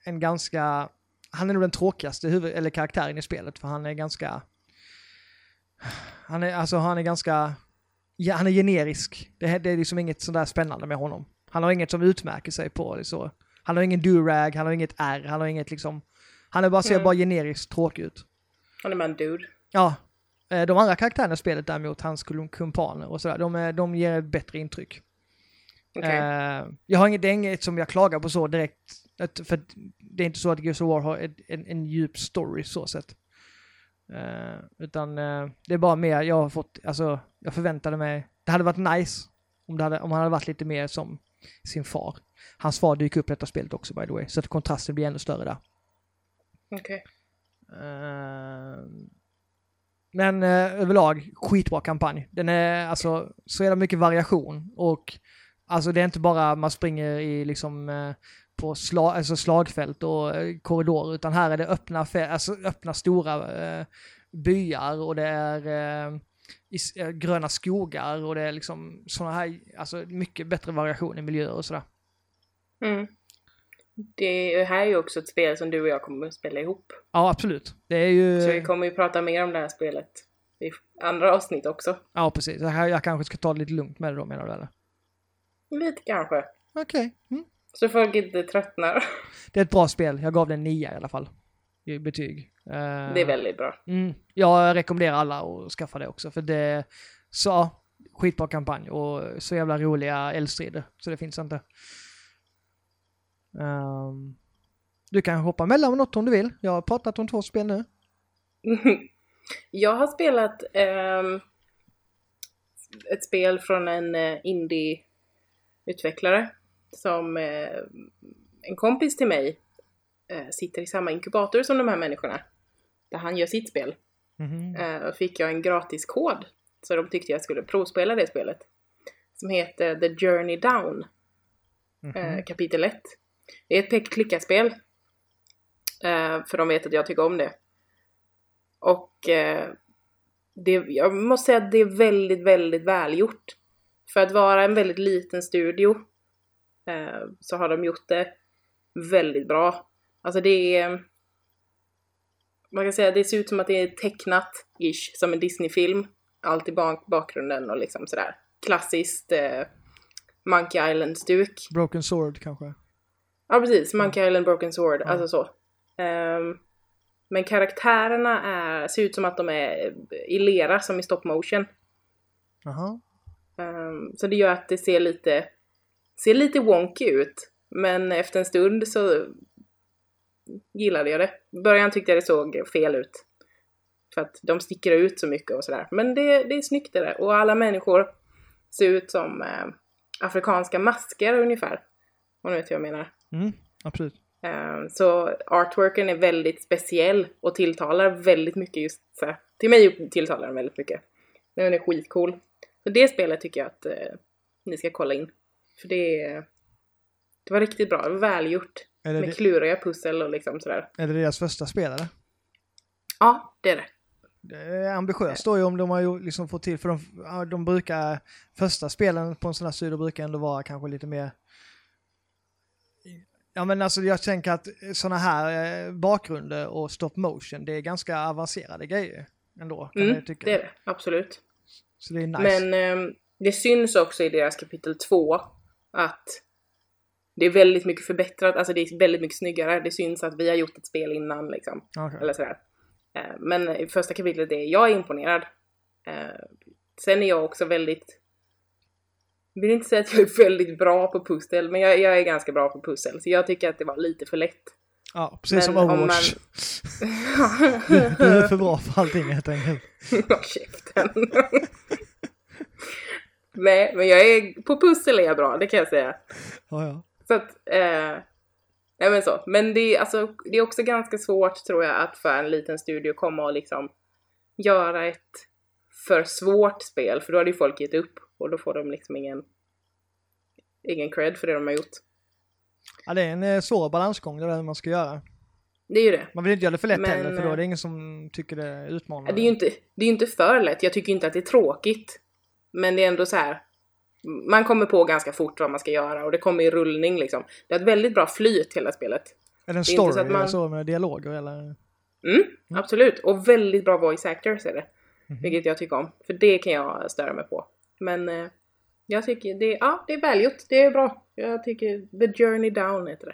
Speaker 1: en ganska... Han är nog den tråkigaste huvud, eller karaktären i spelet för han är ganska... Han är, alltså, han är ganska... Ja, han är generisk. Det, här- det är liksom inget sådär spännande med honom. Han har inget som utmärker sig på det så. Han har ingen durag, han har inget R, han har inget liksom... Han är bara, ser
Speaker 2: Mm.
Speaker 1: bara generiskt tråkig ut.
Speaker 2: Han är bara en dude.
Speaker 1: Ja. Eh, De andra karaktärerna i spelet däremot, hans kum- kumpaner och sådär, de, är- de ger ett bättre intryck.
Speaker 2: Okej.
Speaker 1: Eh, jag har inget, det är inget som jag klagar på så direkt. Att, för att det är inte så att Gears of War har ett, en, en djup story så sett. Eh, utan eh, det är bara mer, jag har fått, alltså jag förväntade mig, det hade varit nice om, det hade, om han hade varit lite mer som sin far. Hans far dyker upp i detta spelet också by the way, så att kontrasten blir ännu större där.
Speaker 2: Okej.
Speaker 1: Eh, Men eh, överlag, skitbra kampanj. Den är alltså så jävla mycket variation och alltså det är inte bara man springer i liksom eh, på sla- alltså slagfält och eh, korridorer utan här är det öppna, fä- alltså öppna stora eh, byar och det är eh, is- eh, gröna skogar och det är liksom sådana här, alltså mycket bättre variation i miljöer och sådär.
Speaker 2: Mm. Det här är ju också ett spel som du och jag kommer att spela ihop.
Speaker 1: Ja, absolut. Det är ju...
Speaker 2: Så vi kommer ju prata mer om det här spelet i andra avsnitt också.
Speaker 1: Ja, precis. Jag, jag kanske ska ta det lite lugnt med det då menar du eller?
Speaker 2: Lite kanske.
Speaker 1: Okej. Mm.
Speaker 2: Så folk inte tröttnar.
Speaker 1: Det är ett bra spel. Jag gav den 9 i alla fall. I betyg. Eh,
Speaker 2: Det är väldigt bra.
Speaker 1: Mm. Jag rekommenderar alla att skaffa det också. För det... Så, ja, skitbra kampanj och så jävla roliga eldstrider. Så det finns inte. Ehm, du kan hoppa mellan något om du vill. Jag har pratat om två spel nu.
Speaker 2: Jag har spelat ehm, ett spel från en eh, indie-utvecklare som eh, en kompis till mig eh, sitter i samma inkubator som de här människorna. Där han gör sitt spel. Eh, och fick jag en gratis kod. Så de tyckte jag skulle provspela det spelet. Som heter The Journey Down, eh, kapitel 1. Det är ett peka-klicka-spel. Eh, för de vet att jag tycker om det. Och eh, det, jag måste säga att det är väldigt, väldigt välgjort. För att vara en väldigt liten studio eh, så har de gjort det väldigt bra. Alltså det är man kan säga det ser ut som att det är tecknat ish som en Disney-film. Allt i bak- bakgrunden och liksom sådär. Klassiskt eh, Monkey Island-stuk.
Speaker 1: Broken Sword kanske.
Speaker 2: Ja precis, Monkey Island Broken Sword,
Speaker 1: Ja.
Speaker 2: alltså så. Ehm, men karaktärerna är, ser ut som att de är eh, i lera som i stop motion.
Speaker 1: Jaha.
Speaker 2: Ehm, så det gör att det ser lite, ser lite wonky ut. Men efter en stund så gillade jag det. I början tyckte jag det såg fel ut. För att de sticker ut så mycket och sådär. Men det, det är snyggt det där. Och alla människor ser ut som eh, afrikanska masker ungefär. Om du vet vad jag menar.
Speaker 1: Mm, absolut.
Speaker 2: Eh, Så artworken är väldigt speciell och tilltalar väldigt mycket just så här. Till mig tilltalar den väldigt mycket. Den är skitcool. Så det spelet tycker jag att eh, ni ska kolla in. För det, är- det var riktigt bra, välgjort.
Speaker 1: Är det,
Speaker 2: Med
Speaker 1: det,
Speaker 2: kluriga pussel och liksom sådär.
Speaker 1: är det deras första spel eller?
Speaker 2: Ja, det är det.
Speaker 1: Det är Eh, ambitiöst då ju om de har ju liksom fått till, för de, ja, de brukar, första spelen på en sån här studio brukar ändå vara kanske lite mer Ja men alltså jag tänker att såna här eh, bakgrunder och stop motion, det är ganska avancerade grejer ändå. Kan
Speaker 2: Mm,
Speaker 1: jag tycka.
Speaker 2: det är det, absolut.
Speaker 1: Så det är nice.
Speaker 2: Men ehm, det syns också i deras kapitel 2 att det är väldigt mycket förbättrat, alltså det är väldigt mycket snyggare. Det syns att vi har gjort ett spel innan liksom.
Speaker 1: Men, okay.
Speaker 2: eller sådär. Eh, Men i första kapitlet är jag imponerad. Eh, Sen är jag också väldigt... Jag vill inte säga att jag är väldigt bra på pussel, men jag, jag är ganska bra på pussel. Så jag tycker att det var lite för lätt.
Speaker 1: Ja, precis
Speaker 2: men
Speaker 1: som
Speaker 2: om
Speaker 1: Overwatch. Du, du är för bra för allting helt enkelt.
Speaker 2: Håll käften. Nej, men jag är... På pussel är jag bra, det kan jag säga.
Speaker 1: Ja, ja.
Speaker 2: Så att, eh, nej men så. Men det är, alltså, det är också ganska svårt tror jag att för en liten studio komma och liksom göra ett för svårt spel för då hade ju folk gett upp och då får de liksom ingen, ingen cred för det de har gjort.
Speaker 1: ja, det är en eh, svår balansgång det där hur man ska göra.
Speaker 2: Det är ju det.
Speaker 1: Man vill inte göra det för lätt
Speaker 2: Men,
Speaker 1: heller för då är det
Speaker 2: eh,
Speaker 1: ingen som tycker det är utmanande.
Speaker 2: Ja, Det är ju inte, det är ju inte för lätt, jag tycker inte att det är tråkigt. Men det är ändå så här. Man kommer på ganska fort vad man ska göra och det kommer i rullning liksom. Det är ett väldigt bra flyt hela spelet.
Speaker 1: Är det en
Speaker 2: Det är inte så
Speaker 1: story
Speaker 2: att
Speaker 1: eller
Speaker 2: man-
Speaker 1: så med dialoger eller?
Speaker 2: Mm, absolut. Och väldigt bra voice actors är det. Vilket jag tycker om. För det kan jag störa mig på. Men eh, jag tycker det, ja, det är välgjort. Det är bra. Jag tycker The Journey Down heter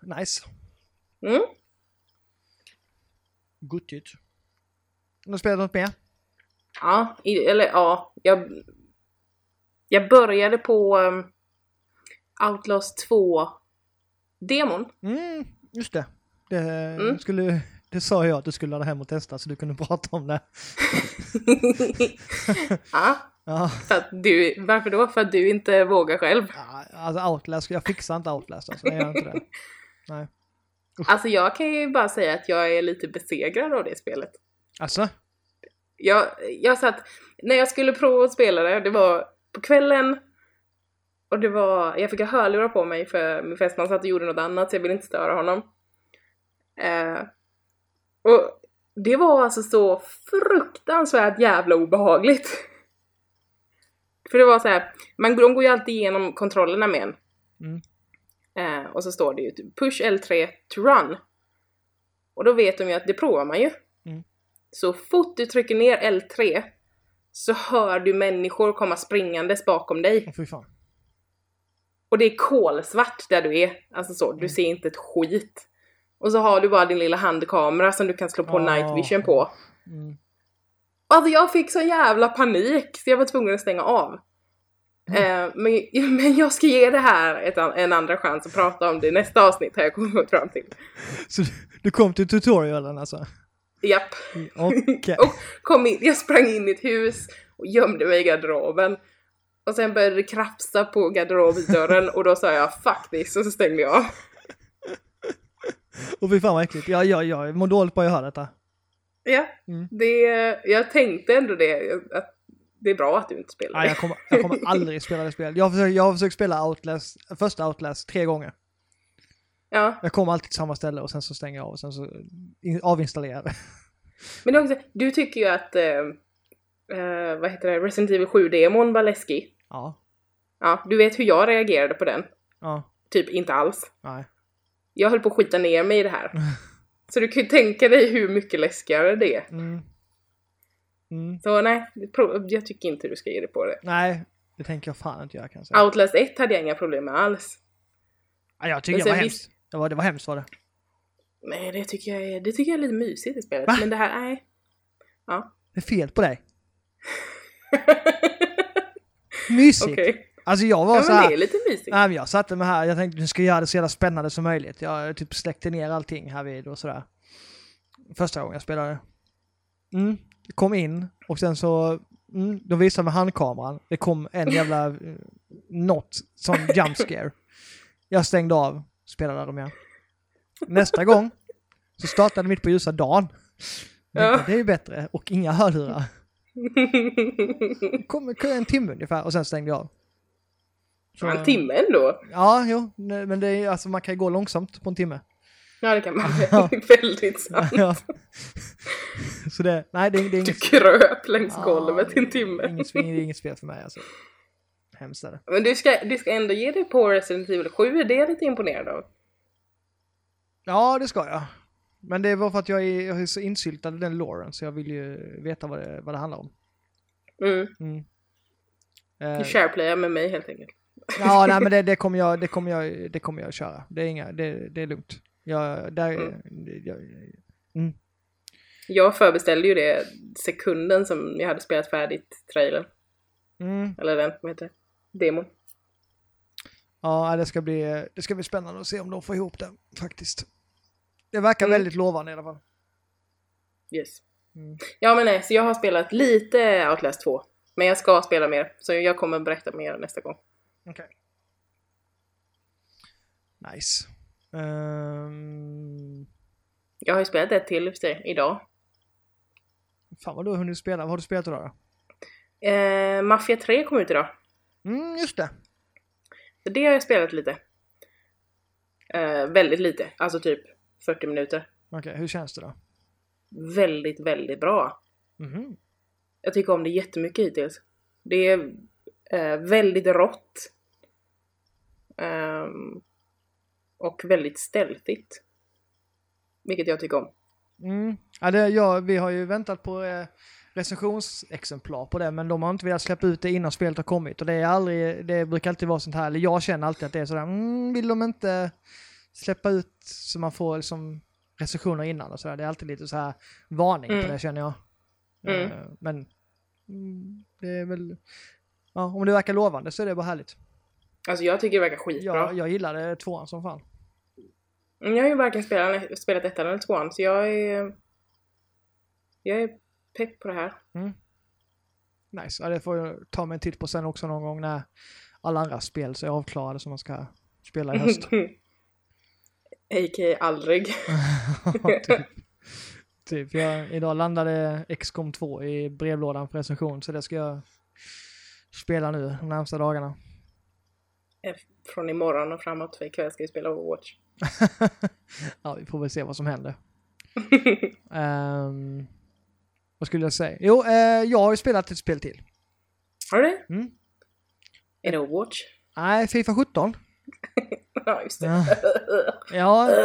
Speaker 2: det.
Speaker 1: Nice.
Speaker 2: Mm.
Speaker 1: Guttigt. Har du spelat något mer?
Speaker 2: Ja, i- eller ja, jag, jag började på um, Outlaws 2 demon.
Speaker 1: Mm, just det. Det,
Speaker 2: Mm.
Speaker 1: skulle, det sa jag att du skulle ladda hem och testa så du kunde prata om det.
Speaker 2: ja,
Speaker 1: Ja,
Speaker 2: för att du, varför då? För att du inte vågar själv.
Speaker 1: ja, alltså Outlast, jag fixar inte Outlast alltså, jag gör inte det.
Speaker 2: Alltså jag kan ju bara säga att jag är lite besegrad av det spelet.
Speaker 1: Alltså?
Speaker 2: Jag, jag satt, när jag skulle prova att spela det, det var på kvällen och det var, jag fick ha hörlurar på mig för min fästman satt och gjorde något annat så jag ville inte störa honom. Eh, och det var alltså så fruktansvärt jävla obehagligt. För det var så här, man, de går ju alltid igenom kontrollerna med en.
Speaker 1: Mm.
Speaker 2: Eh, och så står det ju typ, push L3 to run. Och då vet de ju att det provar man ju. Så fort du trycker ner L3 så hör du människor komma springandes bakom dig.
Speaker 1: Åh fy fan.
Speaker 2: Och det är kolsvart där du är. Alltså så, du ser inte ett skit. Och så har du bara din lilla handkamera som du kan slå på
Speaker 1: Ah.
Speaker 2: night vision på.
Speaker 1: Mm.
Speaker 2: Alltså jag fick så jävla panik så jag var tvungen att stänga av. Eh, men, men jag ska ge det här ett, an- en andra chans att prata om det i nästa avsnitt har jag kommit fram till.
Speaker 1: Så du- du kom till tutorialen alltså?
Speaker 2: Japp.
Speaker 1: Okej.
Speaker 2: Och kom in, jag sprang in i ett hus och gömde mig i garderoben. Och sen började det krafsa på garderobdörren och då sa jag 'fuck this' och så stängde jag av.
Speaker 1: Och fy fan vad äckligt. Ja, ja, ja, jag mår dåligt bara jag hör detta.
Speaker 2: Ja,
Speaker 1: Mm.
Speaker 2: det, jag tänkte ändå det, att det är bra att du inte spelar.
Speaker 1: Nej, jag kommer, jag kommer aldrig spela det spelet. Jag har försökt, jag har försökt spela Outlast, första Outlast tre gånger.
Speaker 2: Ja,
Speaker 1: Jag kommer alltid till samma ställe och sen så stänger jag av och sen så in, avinstallerar jag det.
Speaker 2: men det är också, du tycker ju att, eh, eh, vad heter det, Resident Evil 7-demon var läskig.
Speaker 1: Ja.
Speaker 2: Ja, du vet hur jag reagerade på den.
Speaker 1: Ja.
Speaker 2: Typ inte alls.
Speaker 1: Nej.
Speaker 2: Jag höll på att skita ner mig i det här. Så du kan ju tänka dig hur mycket läskigare det är.
Speaker 1: Mm. Mm.
Speaker 2: Så nej, det pro- jag tycker inte du ska ge dig på det.
Speaker 1: Nej, det tänker jag fan inte göra kan jag säga.
Speaker 2: Outlast 1 hade jag inga problem med alls.
Speaker 1: Ja, jag tycker
Speaker 2: Men
Speaker 1: det var
Speaker 2: sen
Speaker 1: hemskt. Det var, det var hemskt var det.
Speaker 2: Nej, det tycker jag är, det tycker jag är lite mysigt i spelet.
Speaker 1: Va?
Speaker 2: Men det här, nej. Ja.
Speaker 1: Det är fel på dig. Mysigt.
Speaker 2: Okej.
Speaker 1: Alltså jag var
Speaker 2: Ja,
Speaker 1: så
Speaker 2: men
Speaker 1: här.
Speaker 2: det är lite mysigt.
Speaker 1: Nej, men jag satte mig här, jag tänkte nu ska jag göra det så jävla spännande som möjligt. Jag typ släckte ner allting här vid och sådär. Första gången jag spelade. Mm, kom in och sen så, mm, de visade med handkameran. Det kom en jävla, eh, något som jump scare. Jag stängde av, spelade de igen. Nästa gång så startade mitt på ljusa dagen.
Speaker 2: Ja.
Speaker 1: Tänkte, Det är ju bättre och inga hörlurar. Kom, kom en timme ungefär och sen stängde jag av. Så-
Speaker 2: en timme ändå.
Speaker 1: Ja, jo, nej, men det är, alltså, man kan ju gå långsamt på en timme.
Speaker 2: Ja, det kan man.
Speaker 1: Ja.
Speaker 2: Väldigt sant.
Speaker 1: Ja. Så det, nej det, är- det är
Speaker 2: Du
Speaker 1: inget,
Speaker 2: kröp längs
Speaker 1: Ja,
Speaker 2: golvet i en
Speaker 1: det är
Speaker 2: timme.
Speaker 1: inget, det är inget spel för mig alltså. Hemskt är det.
Speaker 2: Men du ska, du ska ändå ge dig på Resident Evil 7, det är jag lite imponerad av.
Speaker 1: Ja, det ska jag. Men det var för att jag är, jag är så insyltad i den loren så jag vill ju veta vad det, vad det handlar om.
Speaker 2: Mm.
Speaker 1: Mm.
Speaker 2: Du
Speaker 1: Eh,
Speaker 2: shareplayar med mig helt enkelt.
Speaker 1: ja, nej men det, det, kommer jag, det, kommer jag, det kommer jag köra. Det är, inga, det, det är lugnt. Jag, där, jag, mm.
Speaker 2: Jag förbeställde ju det sekunden som jag hade spelat färdigt trailern.
Speaker 1: Mm.
Speaker 2: Eller den, vad heter det? Demon.
Speaker 1: Ja, det ska, bli, det ska bli spännande att se om de får ihop det faktiskt. Det verkar
Speaker 2: Mm.
Speaker 1: väldigt lovande i alla fall.
Speaker 2: Yes.
Speaker 1: Mm.
Speaker 2: Ja men nej, så jag har spelat lite Outlast 2. Men jag ska spela mer, så jag kommer berätta mer nästa gång.
Speaker 1: Okej. Nice. Ehm,
Speaker 2: Jag har ju spelat ett till i och för sig, idag.
Speaker 1: fan vad du har hunnit spela. Vad har du spelat idag då?
Speaker 2: Eh, Mafia 3 kom ut idag,
Speaker 1: Mm, just det.
Speaker 2: så det har jag spelat lite. Eh, väldigt lite, alltså typ 40 minuter.
Speaker 1: Okej, hur känns det då?
Speaker 2: Väldigt, väldigt bra.
Speaker 1: Mhm.
Speaker 2: Jag tycker om det jättemycket hittills. Det är eh, väldigt rått. Ehm, och väldigt stealthigt. Vilket jag tycker om.
Speaker 1: Mm. Ja, det, ja, vi har ju väntat på eh, recensionsexemplar på det, men de har inte velat släppa ut det innan spelet har kommit. Och det, är aldrig, det brukar alltid vara sånt här, eller jag känner alltid att det är sådär, mm, vill de inte släppa ut så man får liksom recensioner innan och sådär. Det är alltid lite så här varning på
Speaker 2: Mm.
Speaker 1: det känner jag.
Speaker 2: Mm.
Speaker 1: Eh, Men mm, det är väl, ja, om det verkar lovande så är det bara härligt.
Speaker 2: Alltså jag tycker det verkar skitbra.
Speaker 1: Jag, jag gillade tvåan som fan.
Speaker 2: Mm, Jag har ju varken spelat, spelat ettan eller tvåan, så jag är... Jag är pepp på det här.
Speaker 1: Nice, ja, det får jag ta mig en titt på sen också någon gång när alla andra spel så är avklarade som man ska spela
Speaker 2: Mm.
Speaker 1: i höst.
Speaker 2: A.k.a. aldrig.
Speaker 1: typ. typ. Jag, idag landade XCOM 2 i brevlådan för recension så det ska jag spela nu de närmsta dagarna.
Speaker 2: Eh, Från imorgon och framåt, för ikväll ska vi spela Overwatch.
Speaker 1: ja, vi får väl se vad som händer. Ehm, vad skulle jag säga? Jo, eh, jag har ju spelat ett spel till.
Speaker 2: Har du det?
Speaker 1: Mm.
Speaker 2: Är det Overwatch?
Speaker 1: Nej, Fifa 17.
Speaker 2: ja, just det.
Speaker 1: Ja. ja,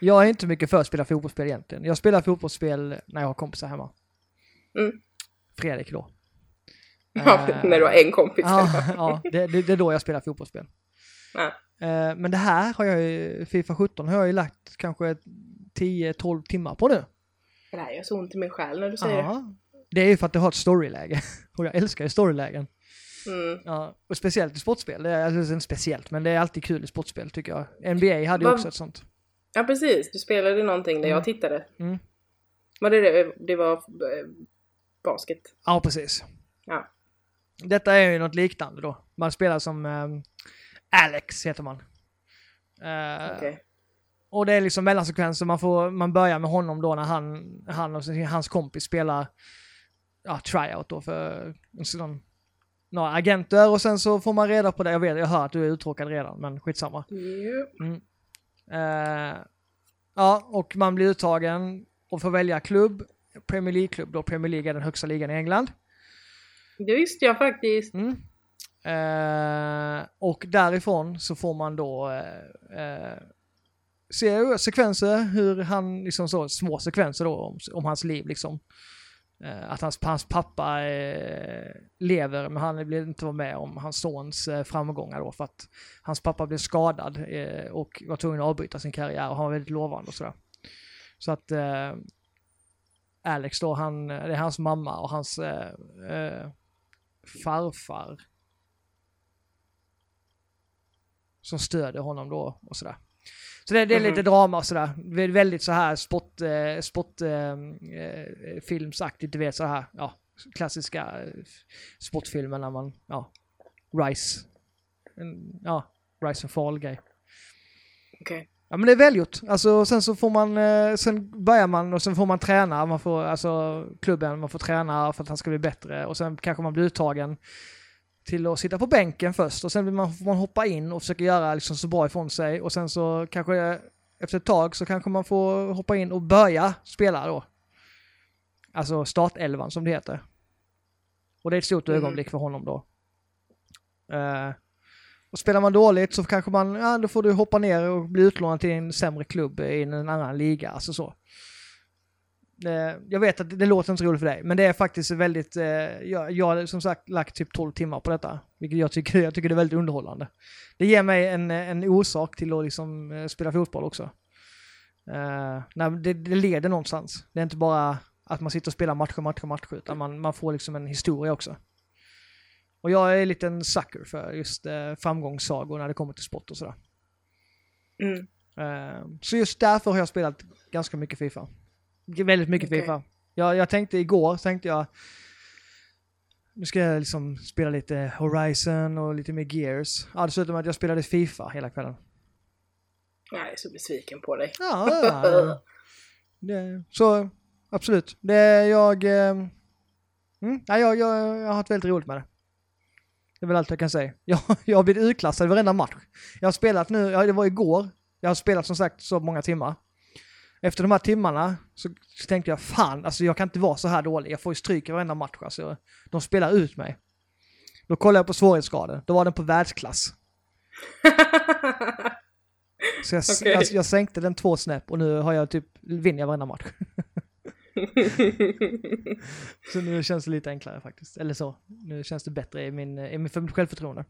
Speaker 1: jag är inte mycket för att spela fotbollsspel egentligen. Jag spelar fotbollsspel när jag har kompisar hemma.
Speaker 2: Mm.
Speaker 1: Fredrik då.
Speaker 2: Ja,
Speaker 1: Eh,
Speaker 2: när du har en kompis.
Speaker 1: Ja, ja det, det, det är då jag spelar fotbollsspel.
Speaker 2: Ja.
Speaker 1: Eh, Men det här har jag ju, Fifa 17 har jag ju lagt kanske 10-12 timmar på nu.
Speaker 2: Det här gör så ont i min själ när du säger
Speaker 1: Ja. Det är ju för att det har ett storyläge. Och jag älskar ju storylägen.
Speaker 2: det. Mm.
Speaker 1: Ja, och speciellt i sportspel. Det är, alltså, inte speciellt, men det är alltid kul i sportspel tycker jag. NBA hade ju
Speaker 2: Vad-
Speaker 1: också ett sånt.
Speaker 2: Ja, precis. Du spelade någonting där jag tittade.
Speaker 1: Mm.
Speaker 2: Var det det? Det var eh, basket.
Speaker 1: Ja, precis.
Speaker 2: Ja.
Speaker 1: Detta är ju något liknande då. Man spelar som ehm, Alex, heter man. Eh,
Speaker 2: Okej.
Speaker 1: Och det är liksom mellansekvenser, man, får, man börjar med honom då när han, han och sin- hans kompis spelar ja, tryout då för en sån, några agenter och sen så får man reda på det. Jag vet, jag hör att du är uttråkad redan men skitsamma.
Speaker 2: Jo.
Speaker 1: Eh, ja, och man blir uttagen och får välja klubb. Premier League-klubb då, Premier League är den högsta ligan i England.
Speaker 2: Det visste jag faktiskt.
Speaker 1: Mm. Eh, och därifrån så får man då eh, eh, se sekvenser, hur han, liksom så, små sekvenser då om, om hans liv liksom. Eh, att hans, hans pappa eh, lever men han vill inte vara med om hans sons eh, framgångar då för att hans pappa blev skadad eh, och var tvungen att avbryta sin karriär och han var väldigt lovande och sådär. Så att eh, Alex då, han, det är hans mamma och hans eh, eh, farfar som stöder honom då och sådär. Så det, det är lite
Speaker 2: Mhm.
Speaker 1: drama och sådär. Vä- Väldigt så här spot, eh, spot eh, eh, filmsaktigt, du vet så här, ja, klassiska eh, spotfilmer när man, ja, Rise, en, ja, Rise and Fall grej.
Speaker 2: Okej.
Speaker 1: Ja men det är välgjort. Alltså sen så får man, eh, sen börjar man och sen får man träna, man får, alltså klubben, man får träna för att han ska bli bättre och sen kanske man blir uttagen till att sitta på bänken först och sen blir man, får man hoppa in och försöka göra liksom så bra ifrån sig och sen så kanske eh, efter ett tag så kanske man får hoppa in och börja spela då. Alltså startelvan som det heter. Och det är ett stort
Speaker 2: Mhm.
Speaker 1: ögonblick för honom då. Eh, och spelar man dåligt så kanske man, ja då får du hoppa ner och bli utlånad till en sämre klubb i en annan liga, alltså så. Eh, Jag vet att det- det låter inte roligt för dig, men det är faktiskt väldigt, eh, jag, jag har som sagt lagt typ 12 timmar på detta, vilket jag tycker, jag tycker det är väldigt underhållande. Det ger mig en, en orsak till att liksom eh, spela fotboll också. Eh, nej, men det, det leder någonstans. Det är inte bara att man sitter och spelar matcher, matcher, matcher, utan man, man får liksom en historia också. Och jag är en liten sucker för just eh, framgångssagor när det kommer till sport och sådär.
Speaker 2: Mm.
Speaker 1: Eh, så just därför har jag spelat ganska mycket Fifa. G- Väldigt mycket
Speaker 2: Okej.
Speaker 1: Fifa. Jag, jag tänkte igår, tänkte jag, nu ska jag liksom spela lite Horizon och lite mer Gears. Ja, dessutom att jag spelade Fifa hela kvällen.
Speaker 2: Jag är så besviken på dig.
Speaker 1: Ja, ja, ja. det, så absolut. Det, jag, eh, mm, ja, jag, jag, jag har haft väldigt roligt med det. Det är väl allt jag kan säga. Jag, jag har blivit utklassad i varenda match. Jag har spelat nu, ja, det var igår, jag har spelat som sagt så många timmar. Efter de här timmarna så, så tänkte jag fan, alltså jag kan inte vara så här dålig. Jag får ju stryk i varenda match. Alltså, de spelar ut mig. Då kollade jag på svårighetsgraden, då var den på världsklass. Så jag, alltså,
Speaker 2: Okej.
Speaker 1: jag, jag sänkte den två snäpp och nu har jag typ, vinner jag varenda match. Så nu känns det lite enklare faktiskt. Eller så. Nu känns det bättre i min, i min för mitt självförtroende.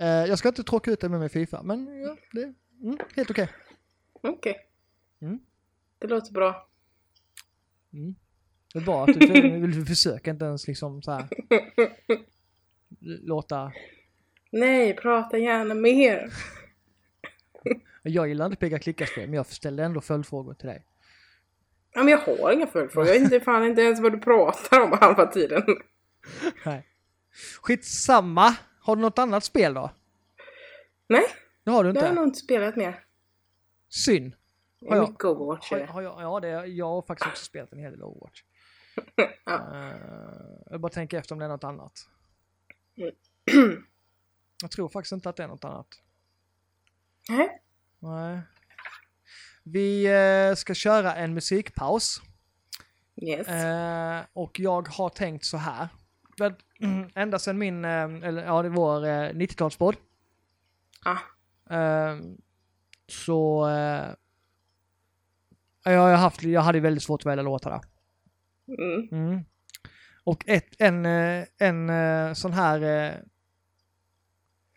Speaker 1: Eh, jag ska inte tråka ut det med mig Fifa, men ja, det är mm, helt okej.
Speaker 2: Okej.
Speaker 1: Mm.
Speaker 2: Det låter bra.
Speaker 1: Mm. Det är bra att du för- vill försöka inte ens liksom så här. låta...
Speaker 2: Nej, prata gärna mer.
Speaker 1: Jag gillar inte peka klicka-spel, men jag ställde ändå följdfrågor till dig.
Speaker 2: Ja, men jag har inga följdfrågor. Jag vet inte, fan inte ens vad du pratar om halva tiden.
Speaker 1: Nej. Skitsamma! Har du något annat spel då?
Speaker 2: Nej,
Speaker 1: Det har du
Speaker 2: jag
Speaker 1: inte?
Speaker 2: har nog inte spelat mer.
Speaker 1: Synd.
Speaker 2: Det
Speaker 1: Har
Speaker 2: är
Speaker 1: jag-
Speaker 2: mycket Overwatch.
Speaker 1: Har,
Speaker 2: är det.
Speaker 1: har jag, ja, det, jag har faktiskt också spelat en hel del Overwatch. Eh, jag bara tänker efter om det är något annat.
Speaker 2: Mm.
Speaker 1: jag tror faktiskt inte att det är något annat.
Speaker 2: Nej,
Speaker 1: Nej. Vi eh, ska köra en musikpaus.
Speaker 2: yes.
Speaker 1: Eh, och jag har tänkt så här. Men, ända sedan min, eh, eller ja det är vår eh, 90-talspodd.
Speaker 2: Ah,
Speaker 1: Eh, så... Eh, jag, har haft, jag hade väldigt svårt att välja låtar där.
Speaker 2: mm.
Speaker 1: Mm. Och ett, en, eh, en eh, sån här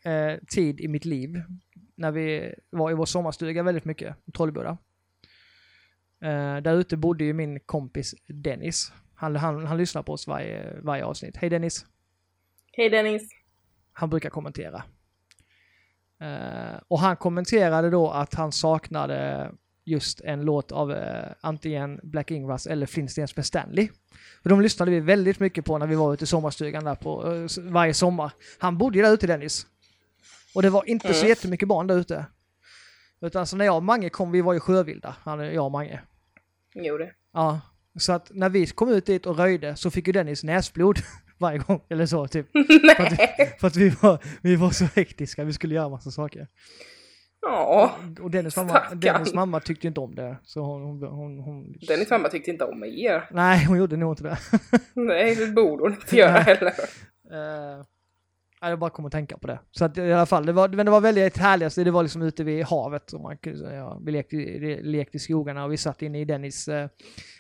Speaker 1: eh, eh, tid i mitt liv, när vi var i vår sommarstuga väldigt mycket, i Trollboda. Eh, där ute bodde ju min kompis Dennis. Han, han, han lyssnar på oss varje, varje avsnitt. Hej Dennis!
Speaker 2: Hej Dennis.
Speaker 1: Han brukar kommentera. Eh, och han kommenterade då att han saknade just en låt av eh, antingen Black Ingvars eller Flintstens med Stanley. Och de lyssnade vi väldigt mycket på när vi var ute i sommarstugan där på eh, s- varje sommar. Han bodde ju där ute Dennis. Och det var inte så
Speaker 2: Mm.
Speaker 1: jättemycket barn där ute. Utan så när jag och Mange kom, vi var ju sjövilda, han, jag och Mange.
Speaker 2: Jo det.
Speaker 1: Ja, så att när vi kom ut dit och röjde så fick ju Dennis näsblod varje gång, eller så typ. För att, vi- för att vi, var, vi var så hektiska, vi skulle göra massa saker.
Speaker 2: Ja.
Speaker 1: Och Dennis mamma,
Speaker 2: Stackarn.
Speaker 1: Dennis mamma tyckte ju inte om det. Så hon, hon, hon, hon...
Speaker 2: Dennis mamma tyckte inte om er.
Speaker 1: Nej, hon gjorde nog inte det.
Speaker 2: Nej, det borde hon inte göra
Speaker 1: Nej.
Speaker 2: heller.
Speaker 1: Uh, jag bara kom att tänka på det. Så att, i alla fall, det var, men det var väldigt härligt. Det var liksom ute vid havet. Och man, kunde- så, ja, vi lekte, i- lekte i skogarna och vi satt inne i Dennis, eh,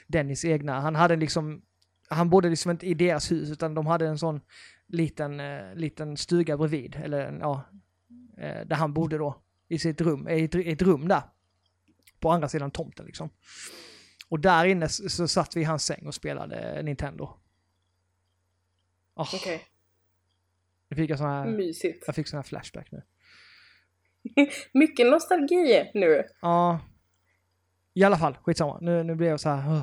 Speaker 1: Dennis egna. Han hade liksom, han bodde liksom inte i deras hus utan de hade en sån liten, eh, liten stuga bredvid. Eller en, ja, eh, där han bodde då. I sitt rum, i ett, i ett rum där. På andra sidan tomten liksom. Och där inne s- så satt vi i hans säng och spelade Nintendo. Ah.
Speaker 2: Okej,
Speaker 1: Nu fick jag sån här,
Speaker 2: mysigt.
Speaker 1: jag fick sån här flashback nu.
Speaker 2: Mycket nostalgi nu.
Speaker 1: Ja. I alla fall, skitsamma. Nu, nu blev jag så här. "Ugh."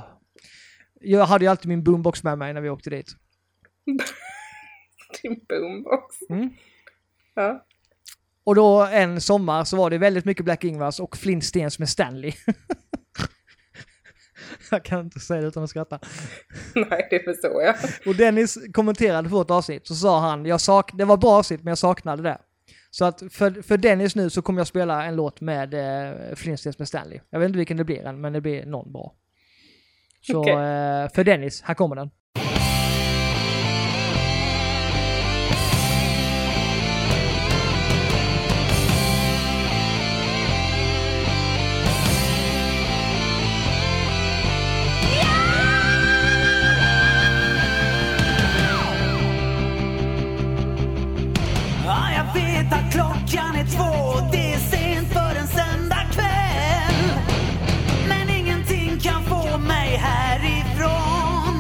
Speaker 1: Jag hade ju alltid min boombox med mig när vi åkte dit.
Speaker 2: Din boombox.
Speaker 1: Mm.
Speaker 2: Ja.
Speaker 1: Och då en sommar så var det väldigt mycket Black Ingvars och Flintstens med Stanley. jag kan inte säga det utan att skratta.
Speaker 2: Nej, det förstår jag.
Speaker 1: Och Dennis kommenterade på vårt avsnitt så sa han, jag sak det var bra avsnitt men jag saknade det. Så att för, för Dennis nu så kommer jag spela en låt med eh, Flintstens med Stanley. Jag vet inte vilken det blir än, men det blir någon bra. Så
Speaker 2: Okej.
Speaker 1: eh, för Dennis, här kommer den.
Speaker 3: Ja, jag vet att klockan är två och det är sent för en söndagkväll. Men ingenting kan få mig härifrån.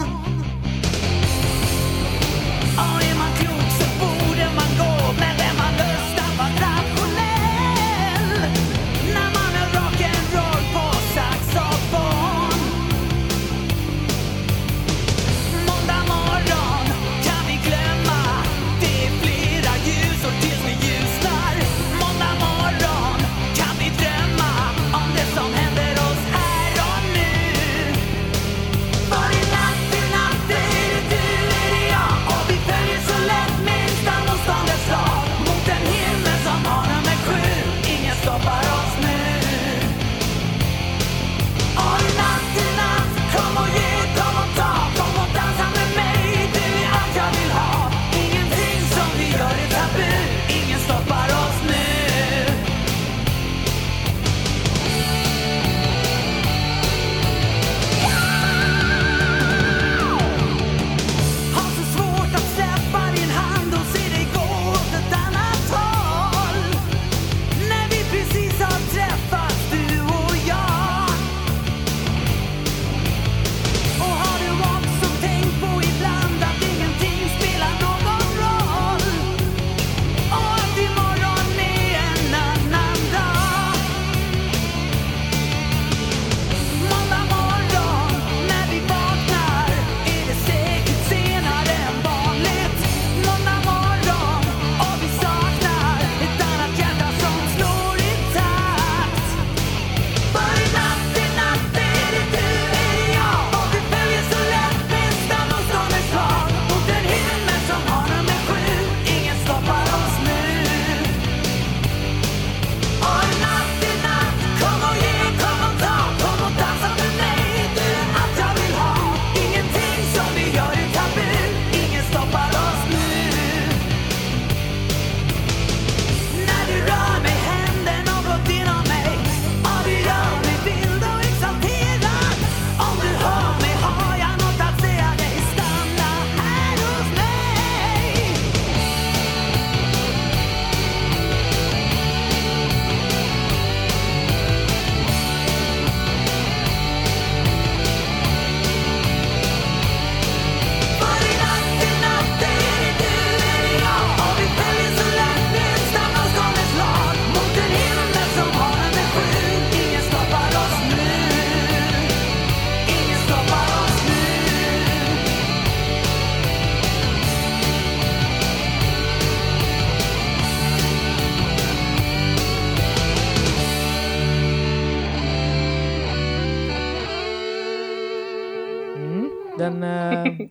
Speaker 1: den... eh,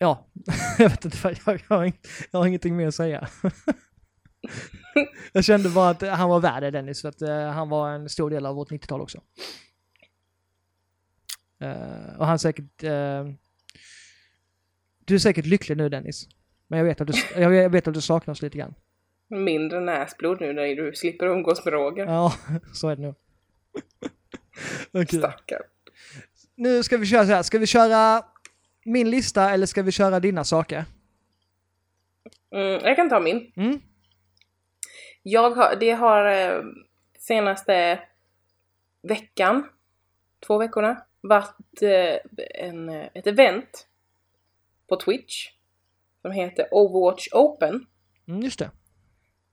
Speaker 1: Ja, jag vet inte, vad jag, jag, har inget, jag har ingenting mer att säga. jag kände bara att han var värd det Dennis, för att eh, han var en stor del av vårt 90-tal också. Eh, och han är säkert... eh, du är säkert lycklig nu Dennis. Men jag vet att du, jag vet att du saknar oss lite grann.
Speaker 2: Mindre näsblod nu när du slipper umgås med Roger.
Speaker 1: Ja, så är det nog. Okej.
Speaker 2: Stackarn.
Speaker 1: Nu ska vi köra så här. Ska vi köra min lista eller ska vi köra dina saker?
Speaker 2: Mm, jag kan ta min.
Speaker 1: Mm.
Speaker 2: Jag har, det har eh, senaste veckan, två veckorna, varit eh, en, eh, ett event på Twitch som heter Overwatch Open
Speaker 1: Mm, just det.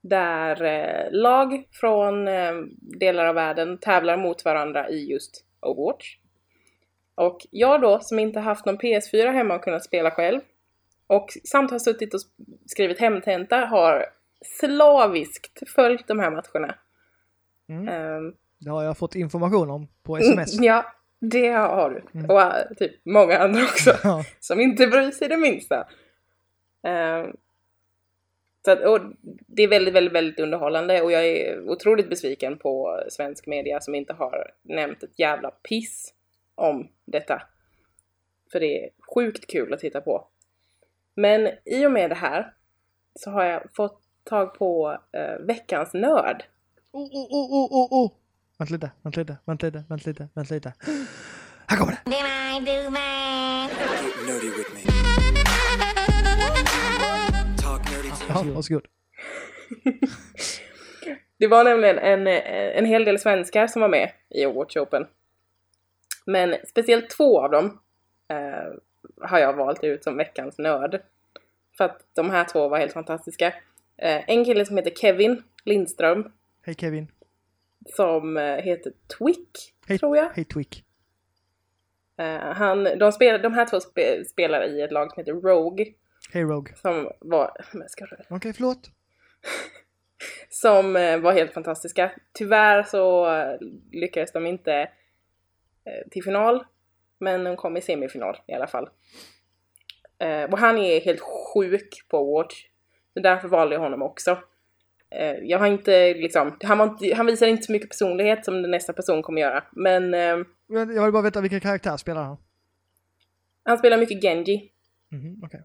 Speaker 2: där eh, lag från eh, delar av världen tävlar mot varandra i just Overwatch. Och jag då, som inte haft någon PS4 hemma och kunnat spela själv och samt har suttit och skrivit hemtenta har slaviskt följt de här matcherna.
Speaker 1: Mm.
Speaker 2: Ehm,
Speaker 1: Det har jag fått information om på sms.
Speaker 2: Ja, det har du. Och eh, typ många andra också
Speaker 1: Ja.
Speaker 2: som inte bryr sig det minsta. Eh, så att, och det är väldigt, väldigt, väldigt underhållande och jag är otroligt besviken på svensk media som inte har nämnt ett jävla piss om detta. För det är sjukt kul att titta på. Men i och med det här så har jag fått tag på eh, veckans nörd.
Speaker 1: Oh, oh, oh, oh, oh, oh. Vänta lite, vänta lite, vänta lite, vänta lite, vänta lite. Här kommer det!
Speaker 4: Do my, do my.
Speaker 5: Get nerdy with me. Talk nerdy to
Speaker 1: Ja, varsågod.
Speaker 2: Det var nämligen en, eh, en hel del svenskar som var med i Overwatch Open. Men speciellt två av dem eh, har jag valt ut som veckans nörd. För att de här två var helt fantastiska. Eh, en kille som heter Kevin Lindström
Speaker 1: Hej Kevin.
Speaker 2: som eh, heter Twick,
Speaker 1: Hej,
Speaker 2: tror jag.
Speaker 1: hej Twick.
Speaker 2: Eh, han, de, spel, de här två spe, spelar i ett lag som heter Rogue.
Speaker 1: Hej Rogue.
Speaker 2: Som var... Men ska du-
Speaker 1: Okej, förlåt.
Speaker 2: som eh, var helt fantastiska. Tyvärr så eh, lyckades de inte eh, till final, men de kom i semifinal i alla fall. Eh, och han är helt sjuk på Watch, så därför valde jag honom också. Eh, jag har inte liksom, han, var inte, han visar inte så mycket personlighet som den nästa person kommer göra, men eh,
Speaker 1: Men Jag vill bara veta vilken karaktär spelar han?
Speaker 2: han spelar mycket Genji.
Speaker 1: Mhm, okej.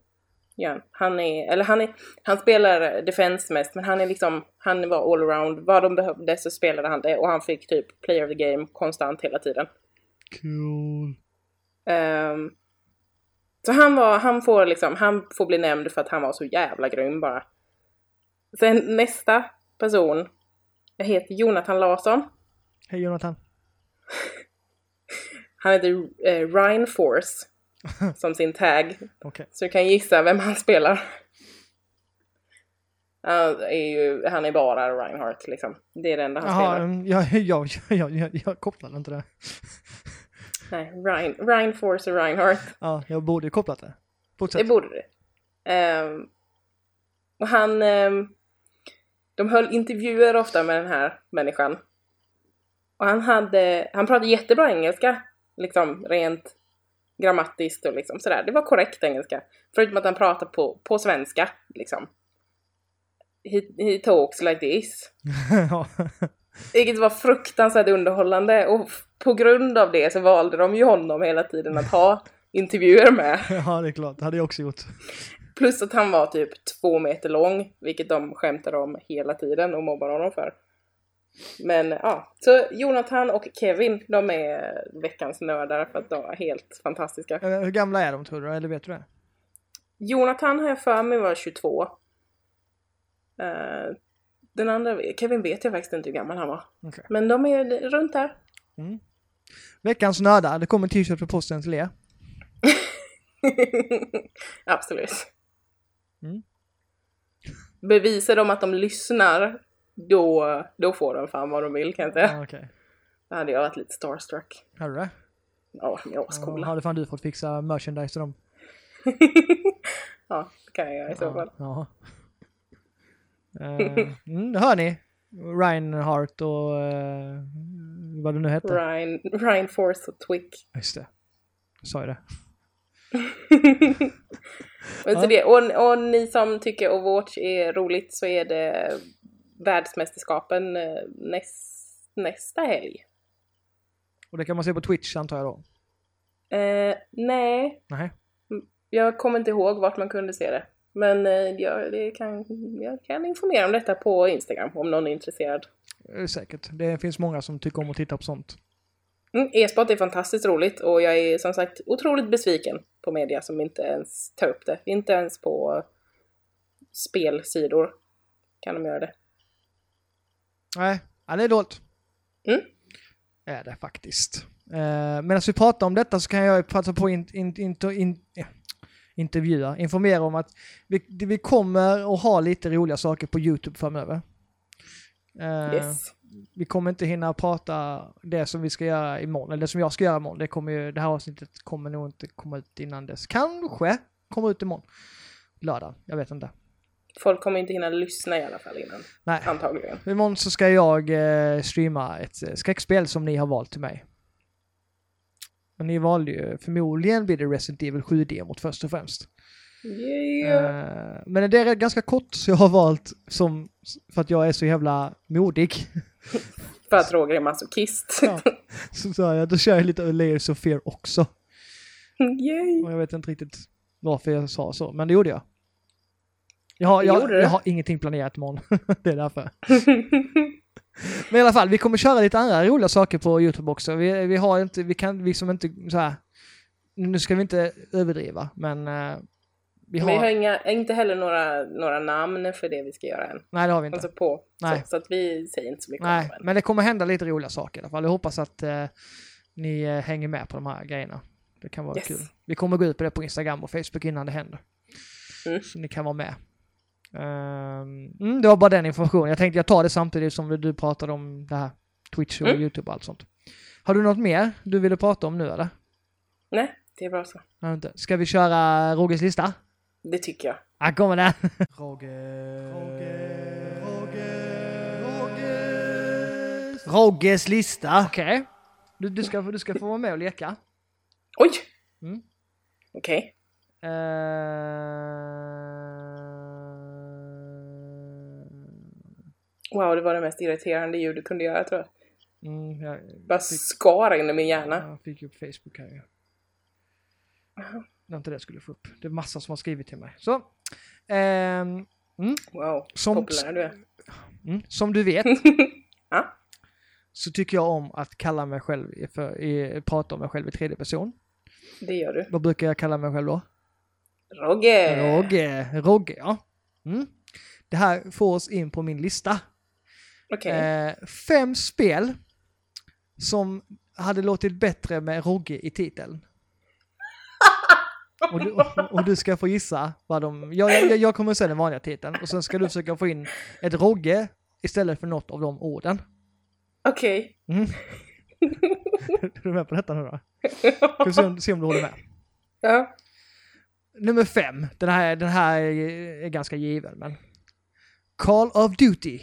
Speaker 2: gör han. han är, eller han är, han spelar defense mest, men han är liksom, han var allround. Vad de behövde så spelade han det och han fick typ player of the game konstant hela tiden.
Speaker 1: Cool.
Speaker 2: Ehm, så han var, han får liksom, han får bli nämnd för att han var så jävla grym bara. Sen nästa person, jag heter Jonathan Larsson.
Speaker 1: Hej Jonathan.
Speaker 2: Han heter eh, Ryan Force som sin tag.
Speaker 1: Okej.
Speaker 2: Så du kan gissa vem han spelar. Han är ju, han är bara Reinhardt liksom. Det är det enda han
Speaker 1: Jaha,
Speaker 2: spelar.
Speaker 1: mm, jag, jag, jag, jag, jag kopplade inte det.
Speaker 2: Nej, Rein, Rein Force och Reinhardt.
Speaker 1: Ja, jag borde ju kopplat det.
Speaker 2: Det
Speaker 1: Fortsätt.
Speaker 2: borde det. Ehm, och han... ehm, de höll intervjuer ofta med den här människan. Och han hade... Han pratade jättebra engelska. Liksom rent grammatiskt och liksom sådär. Det var korrekt engelska. Förutom att han pratade på, på svenska, liksom. He, he talks like this.
Speaker 1: ja.
Speaker 2: Vilket var fruktansvärt underhållande och f- på grund av det så valde de ju honom hela tiden att ha intervjuer med.
Speaker 1: ja, det är klart. Det hade jag också gjort.
Speaker 2: Plus att han var typ två meter lång, vilket de skämtade om hela tiden och mobbade honom för. Men ja, så Jonathan och Kevin, de är veckans nördar för att de är helt fantastiska.
Speaker 1: Eh, Hur gamla är de tror du? Eller vet du det?
Speaker 2: Jonathan har jag för mig var 22. Eh, den andra, Kevin vet jag faktiskt inte hur gammal han var.
Speaker 1: Okej.
Speaker 2: Men de är runt där.
Speaker 1: Veckans nördar. Det kommer en t-shirt på posten till er.
Speaker 2: Absolut.
Speaker 1: Mm.
Speaker 2: Bevisar de att de lyssnar, då, då får de fan vad de vill kan jag säga.
Speaker 1: Ja, okej.
Speaker 2: Då hade jag varit lite starstruck.
Speaker 1: Har du det?
Speaker 2: Ja, men jag var så
Speaker 1: Ja,
Speaker 2: cool.
Speaker 1: hade fan du fått fixa merchandise till dem.
Speaker 2: Ja, det kan jag göra i så fall.
Speaker 1: Ja. ja. Eh, mm, det hör ni. Reinhardt och eh, vad det nu hette.
Speaker 2: Ryan, Ryan Force och Twick.
Speaker 1: Just det. Jag sa ju det.
Speaker 2: Men så
Speaker 1: Ja.
Speaker 2: det, och, och ni som tycker Overwatch är roligt så är det världsmästerskapen eh, näst, nästa helg.
Speaker 1: Och det kan man se på Twitch antar jag då?
Speaker 2: Eh, nej, Mm,
Speaker 1: Nej.
Speaker 2: jag kommer inte ihåg vart man kunde se det. Men eh, jag, det kan, jag kan informera om detta på Instagram om någon är intresserad.
Speaker 1: Det är Eh, säkert. Det finns många som tycker om att titta på sånt.
Speaker 2: Mm, e-sport är fantastiskt roligt och jag är som sagt otroligt besviken på media som inte ens tar upp det. Inte ens på spelsidor kan de göra det.
Speaker 1: Nej, ja, det är dåligt.
Speaker 2: Mm.
Speaker 1: Är det faktiskt. Eh, Medan vi pratar om detta så kan jag ju passa på att in, in, in, in, eh, intervjua, informera om att vi, det- vi kommer att ha lite roliga saker på YouTube framöver. Eh,
Speaker 2: Yes.
Speaker 1: Vi kommer inte hinna prata det som vi ska göra imorgon, eller det som jag ska göra imorgon. Det, kommer ju, det här avsnittet kommer nog inte komma ut innan dess. Kanske kommer ut imorgon. Lördag, jag vet inte.
Speaker 2: Folk kommer inte hinna lyssna i alla fall innan,
Speaker 1: Nej.
Speaker 2: antagligen.
Speaker 1: Imorgon så ska jag eh, streama ett eh, skräckspel som ni har valt till mig. Och ni valde ju, förmodligen blir det Resident Evil 7-demot först och främst.
Speaker 2: Yeah.
Speaker 1: Eh, men det är ganska kort så jag har valt som, för att jag är så jävla modig.
Speaker 2: För att Roger är masochist.
Speaker 1: Ja. så sa jag, då kör jag lite Layers of Fear också.
Speaker 2: Yay.
Speaker 1: Och jag vet inte riktigt varför jag sa så, men det gjorde jag. Jag har,
Speaker 2: Det
Speaker 1: jag,
Speaker 2: gjorde du.
Speaker 1: jag har ingenting planerat imorgon. det är därför. Men i alla fall, vi kommer köra lite andra roliga saker på YouTube också. Vi, vi har inte, vi kan liksom inte så här. Nu ska vi inte överdriva, men eh, vi har,
Speaker 2: Men vi har inga, inte heller några, några namn för det vi ska göra än.
Speaker 1: nej det har vi inte.
Speaker 2: Alltså på,
Speaker 1: Nej.
Speaker 2: så, så att vi säger inte så mycket
Speaker 1: nej,
Speaker 2: om det än.
Speaker 1: men det kommer hända lite roliga saker i alla fall. Jag hoppas att eh, ni eh, hänger med på de här grejerna. Det kan vara
Speaker 2: Yes.
Speaker 1: kul. Vi kommer gå ut på det på Instagram och Facebook innan det händer.
Speaker 2: Mm.
Speaker 1: Så ni kan vara med. Ehm, mm, det var bara den informationen. Jag tänkte jag tar det samtidigt som du pratade om det här Twitch och
Speaker 2: Mm.
Speaker 1: YouTube och allt sånt. Har du något mer du ville prata om nu eller?
Speaker 2: Nej, det är bra så.
Speaker 1: Nej, inte. Ska vi köra Rogers lista?
Speaker 2: Det tycker jag.
Speaker 1: Här Ah, kommer den!
Speaker 6: Rogges lista.
Speaker 1: Okej. Du, du, ska, du ska få vara med och leka.
Speaker 2: Oj!
Speaker 1: Mm.
Speaker 2: Okej.
Speaker 1: Eh,
Speaker 2: Wow, det var det mest irriterande ljud du kunde göra tror jag.
Speaker 1: Mm, jag,
Speaker 2: Bara skar in i min hjärna.
Speaker 1: jag fick upp Facebook här ju. Det var inte det jag skulle få upp. Det är massa som har skrivit till mig. Så. ehm,
Speaker 2: Wow,
Speaker 1: Som-
Speaker 2: populär du är.
Speaker 1: mm, som du vet
Speaker 2: Ja.
Speaker 1: så tycker jag om att kalla mig själv i- för, i, prata om mig själv i tredje person.
Speaker 2: Det gör du.
Speaker 1: Vad brukar jag kalla mig själv då?
Speaker 2: Roger!
Speaker 1: Rogge. Rogge, ja. Mm. Det här får oss in på min lista.
Speaker 2: Okej.
Speaker 1: Eh, fem spel som hade låtit bättre med Rogge i titeln. Och du, och du ska få gissa vad de... Jag, jag, jag kommer säga den vanliga titeln och sen ska du försöka få in ett Rogge istället för något av de orden.
Speaker 2: Okej.
Speaker 1: Mm. är du med på detta nu då? Ska vi se om, se om du håller med.
Speaker 2: Ja.
Speaker 1: Nummer fem. Den här, den här är, är ganska given men... Call of Duty.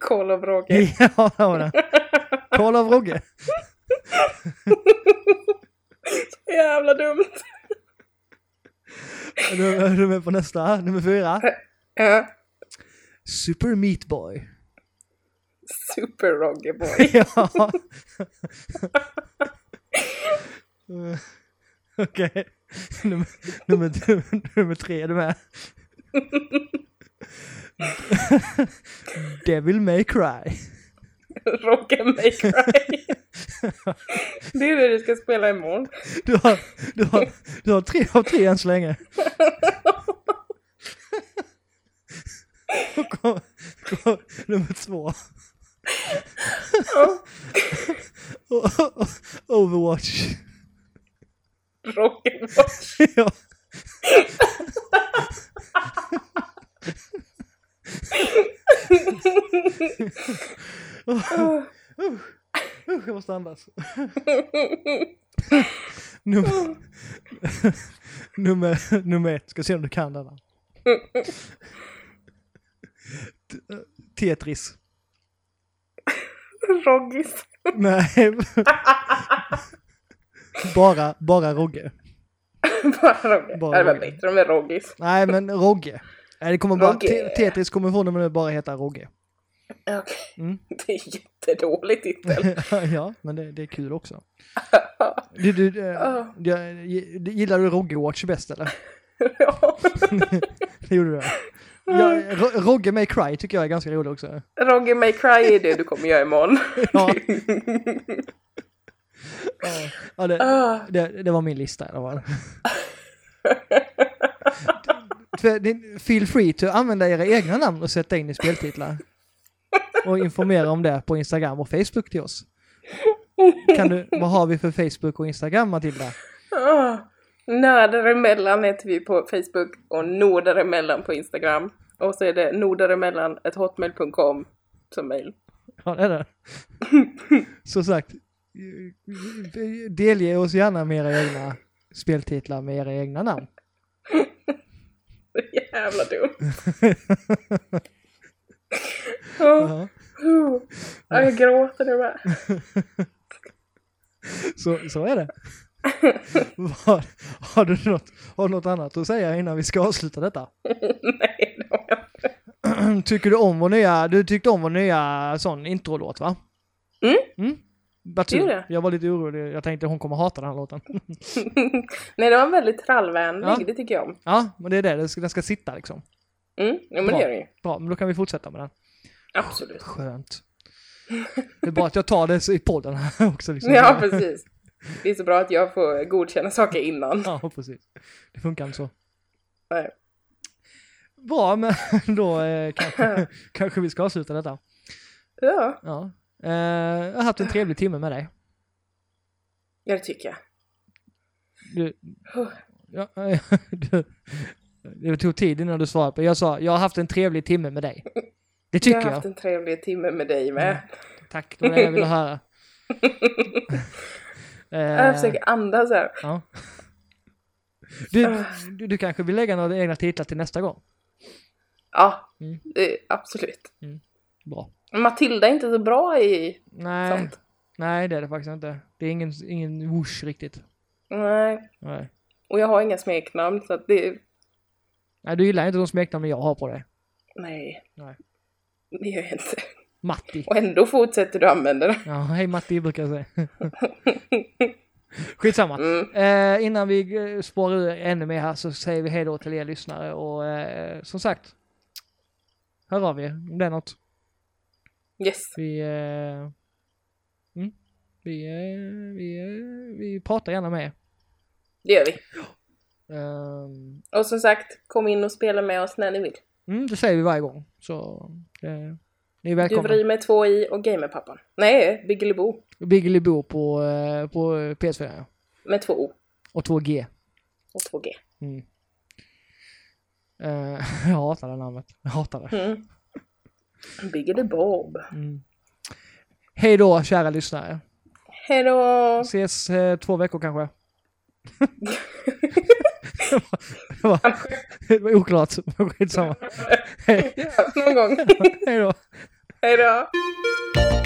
Speaker 2: Call of Roger.
Speaker 1: ja, det var den. Call of Rogge.
Speaker 2: Jävla dumt!
Speaker 1: Är du, är du med på nästa? Nummer fyra.
Speaker 2: Ja.
Speaker 1: Super Meat Boy.
Speaker 2: Super Roger boy.
Speaker 1: Ja. Okej. Nummer, nummer, nummer tre, är du med? Devil May Cry.
Speaker 2: Roger May Cry. Det är det du ska spela imorgon.
Speaker 1: Du har, du har, du har tre av tre än så länge. Och kom, kom, nummer två.
Speaker 2: Ja.
Speaker 1: Overwatch.
Speaker 2: Roger boy.
Speaker 1: ja. Usch, jag måste andas. nummer, nummer, nummer ett, ska se om du kan den här. T- eh, Tetris.
Speaker 2: Roggis.
Speaker 1: Nej. Bara, bara Rogge.
Speaker 2: Bara Rogge.
Speaker 1: Bara
Speaker 2: det var
Speaker 1: Rogge.
Speaker 2: bättre med Roggis.
Speaker 1: Nej, men Rogge. Nej, det kommer bara,
Speaker 2: Rogge.
Speaker 1: Te- Tetris kommer från nu bara heta Rogge.
Speaker 2: Okej.
Speaker 1: Mm.
Speaker 2: Det är jättedålig titel.
Speaker 1: ja, men det, det är kul också. Du, du, eh,
Speaker 2: Ja.
Speaker 1: jag- gillar du Rogge Watch bäst eller?
Speaker 2: Ja.
Speaker 1: Det gjorde du. Ja, Ro- Rogge May Cry tycker jag är ganska rolig också.
Speaker 2: Rogge May Cry är det du kommer göra imorgon.
Speaker 1: Ja. Ja, det,
Speaker 2: Ah.
Speaker 1: det, det var min lista. Det var. För det- Feel free to använda era egna namn och sätta in i speltitlar. Och informera om det på Instagram och Facebook till oss. Kan du, vad har vi för Facebook och Instagram Matilda?
Speaker 2: Ah. Nördaremellan heter vi på Facebook och Nordaremellan på Instagram. Och så är det nordaremellan.hotmail.com som mejl.
Speaker 1: Ja, det är det. Som sagt, delge oss gärna med era egna speltitlar med era egna namn.
Speaker 2: Så jävla dumt.
Speaker 1: Ja.
Speaker 2: oh, oh. Ja, jag gråter nu bara.
Speaker 1: Så, så är det. Vad- har, du något, har du något annat att säga innan vi ska avsluta detta?
Speaker 2: Nej, det har jag inte.
Speaker 1: Tycker du om vår nya, du tyckte om vår nya sån introlåt va?
Speaker 2: Mm.
Speaker 1: Mm. Vad
Speaker 2: Det gjorde
Speaker 1: tur. Jag var lite orolig, jag tänkte hon kommer hata den här låten.
Speaker 2: Nej, det var väldigt trallvänlig.
Speaker 1: Ja.
Speaker 2: Det tycker jag om.
Speaker 1: Ja, men det är det, den ska, den ska sitta liksom.
Speaker 2: Mm, ja, men
Speaker 1: Bra.
Speaker 2: det gör det ju.
Speaker 1: Bra, men då kan vi fortsätta med den.
Speaker 2: Absolut.
Speaker 1: Skönt. Det är bra att jag tar det så- i podden här också. Liksom.
Speaker 2: Ja, precis. Det är så bra att jag får godkänna saker innan.
Speaker 1: ja, precis. Det funkar inte så.
Speaker 2: Nej.
Speaker 1: Bra, men då eh, kanske, kanske vi ska avsluta detta.
Speaker 2: Ja,
Speaker 1: Ja. Eh, jag har haft en trevlig timme med dig.
Speaker 2: ja, det tycker jag.
Speaker 1: Du, ja, du, det tog tid innan du svarade på Jag sa, jag har haft en trevlig timme med dig. Det
Speaker 2: Jag
Speaker 1: tycker
Speaker 2: har
Speaker 1: jag. Mm.
Speaker 2: haft en trevlig timme med dig med.
Speaker 1: Tack, det var det jag ville höra. Eh,
Speaker 2: Jag försöker andas här.
Speaker 1: ja. du,
Speaker 2: Ah.
Speaker 1: du, du kanske vill lägga några egna titlar till nästa gång?
Speaker 2: Ja,
Speaker 1: Mm.
Speaker 2: det, absolut.
Speaker 1: Bra.
Speaker 2: Matilda är inte så bra i
Speaker 1: Nej,
Speaker 2: sånt.
Speaker 1: nej det är det faktiskt inte. Det är ingen, ingen whoosh riktigt.
Speaker 2: Nej,
Speaker 1: Nej.
Speaker 2: och jag har inga smeknamn så att det...
Speaker 1: nej, du gillar inte de smeknamn jag har på dig.
Speaker 2: Nej.
Speaker 1: Nej.
Speaker 2: Det gör jag inte.
Speaker 1: Matti.
Speaker 2: Och ändå fortsätter du använda det.
Speaker 1: Ja, hej Matti brukar jag säga. Skitsamma.
Speaker 2: Mm.
Speaker 1: Eh, innan vi eh, spårar ur ännu mer här så säger vi hej då till er lyssnare och eh, som sagt, hör av er om det är något.
Speaker 2: Yes.
Speaker 1: Vi, eh, mm, vi, eh, vi, eh, vi pratar gärna med er.
Speaker 2: Det gör vi.
Speaker 1: Ehm,
Speaker 2: Och som sagt, kom in och spela med oss när ni vill.
Speaker 1: mm, det säger vi varje gång. Så eh, ni är
Speaker 2: Du
Speaker 1: välkomna.
Speaker 2: vri med två i och Gamerpappan. Nej, Biggelebo.
Speaker 1: Biggeliboo på, eh, på PS4 ja.
Speaker 2: Med två O
Speaker 1: och 2G.
Speaker 2: och två G.
Speaker 1: Mm. Eh, jag hatar det namnet. Jag hatar det.
Speaker 2: Mm. Biggelibob.
Speaker 1: Mm. Hej då kära lyssnare.
Speaker 2: Hejdå!
Speaker 1: Ses eh, två veckor kanske. det, var, det, var, det var oklart, men skitsamma. Hej,
Speaker 2: Någon gång.
Speaker 1: hej då.
Speaker 2: Hejdå!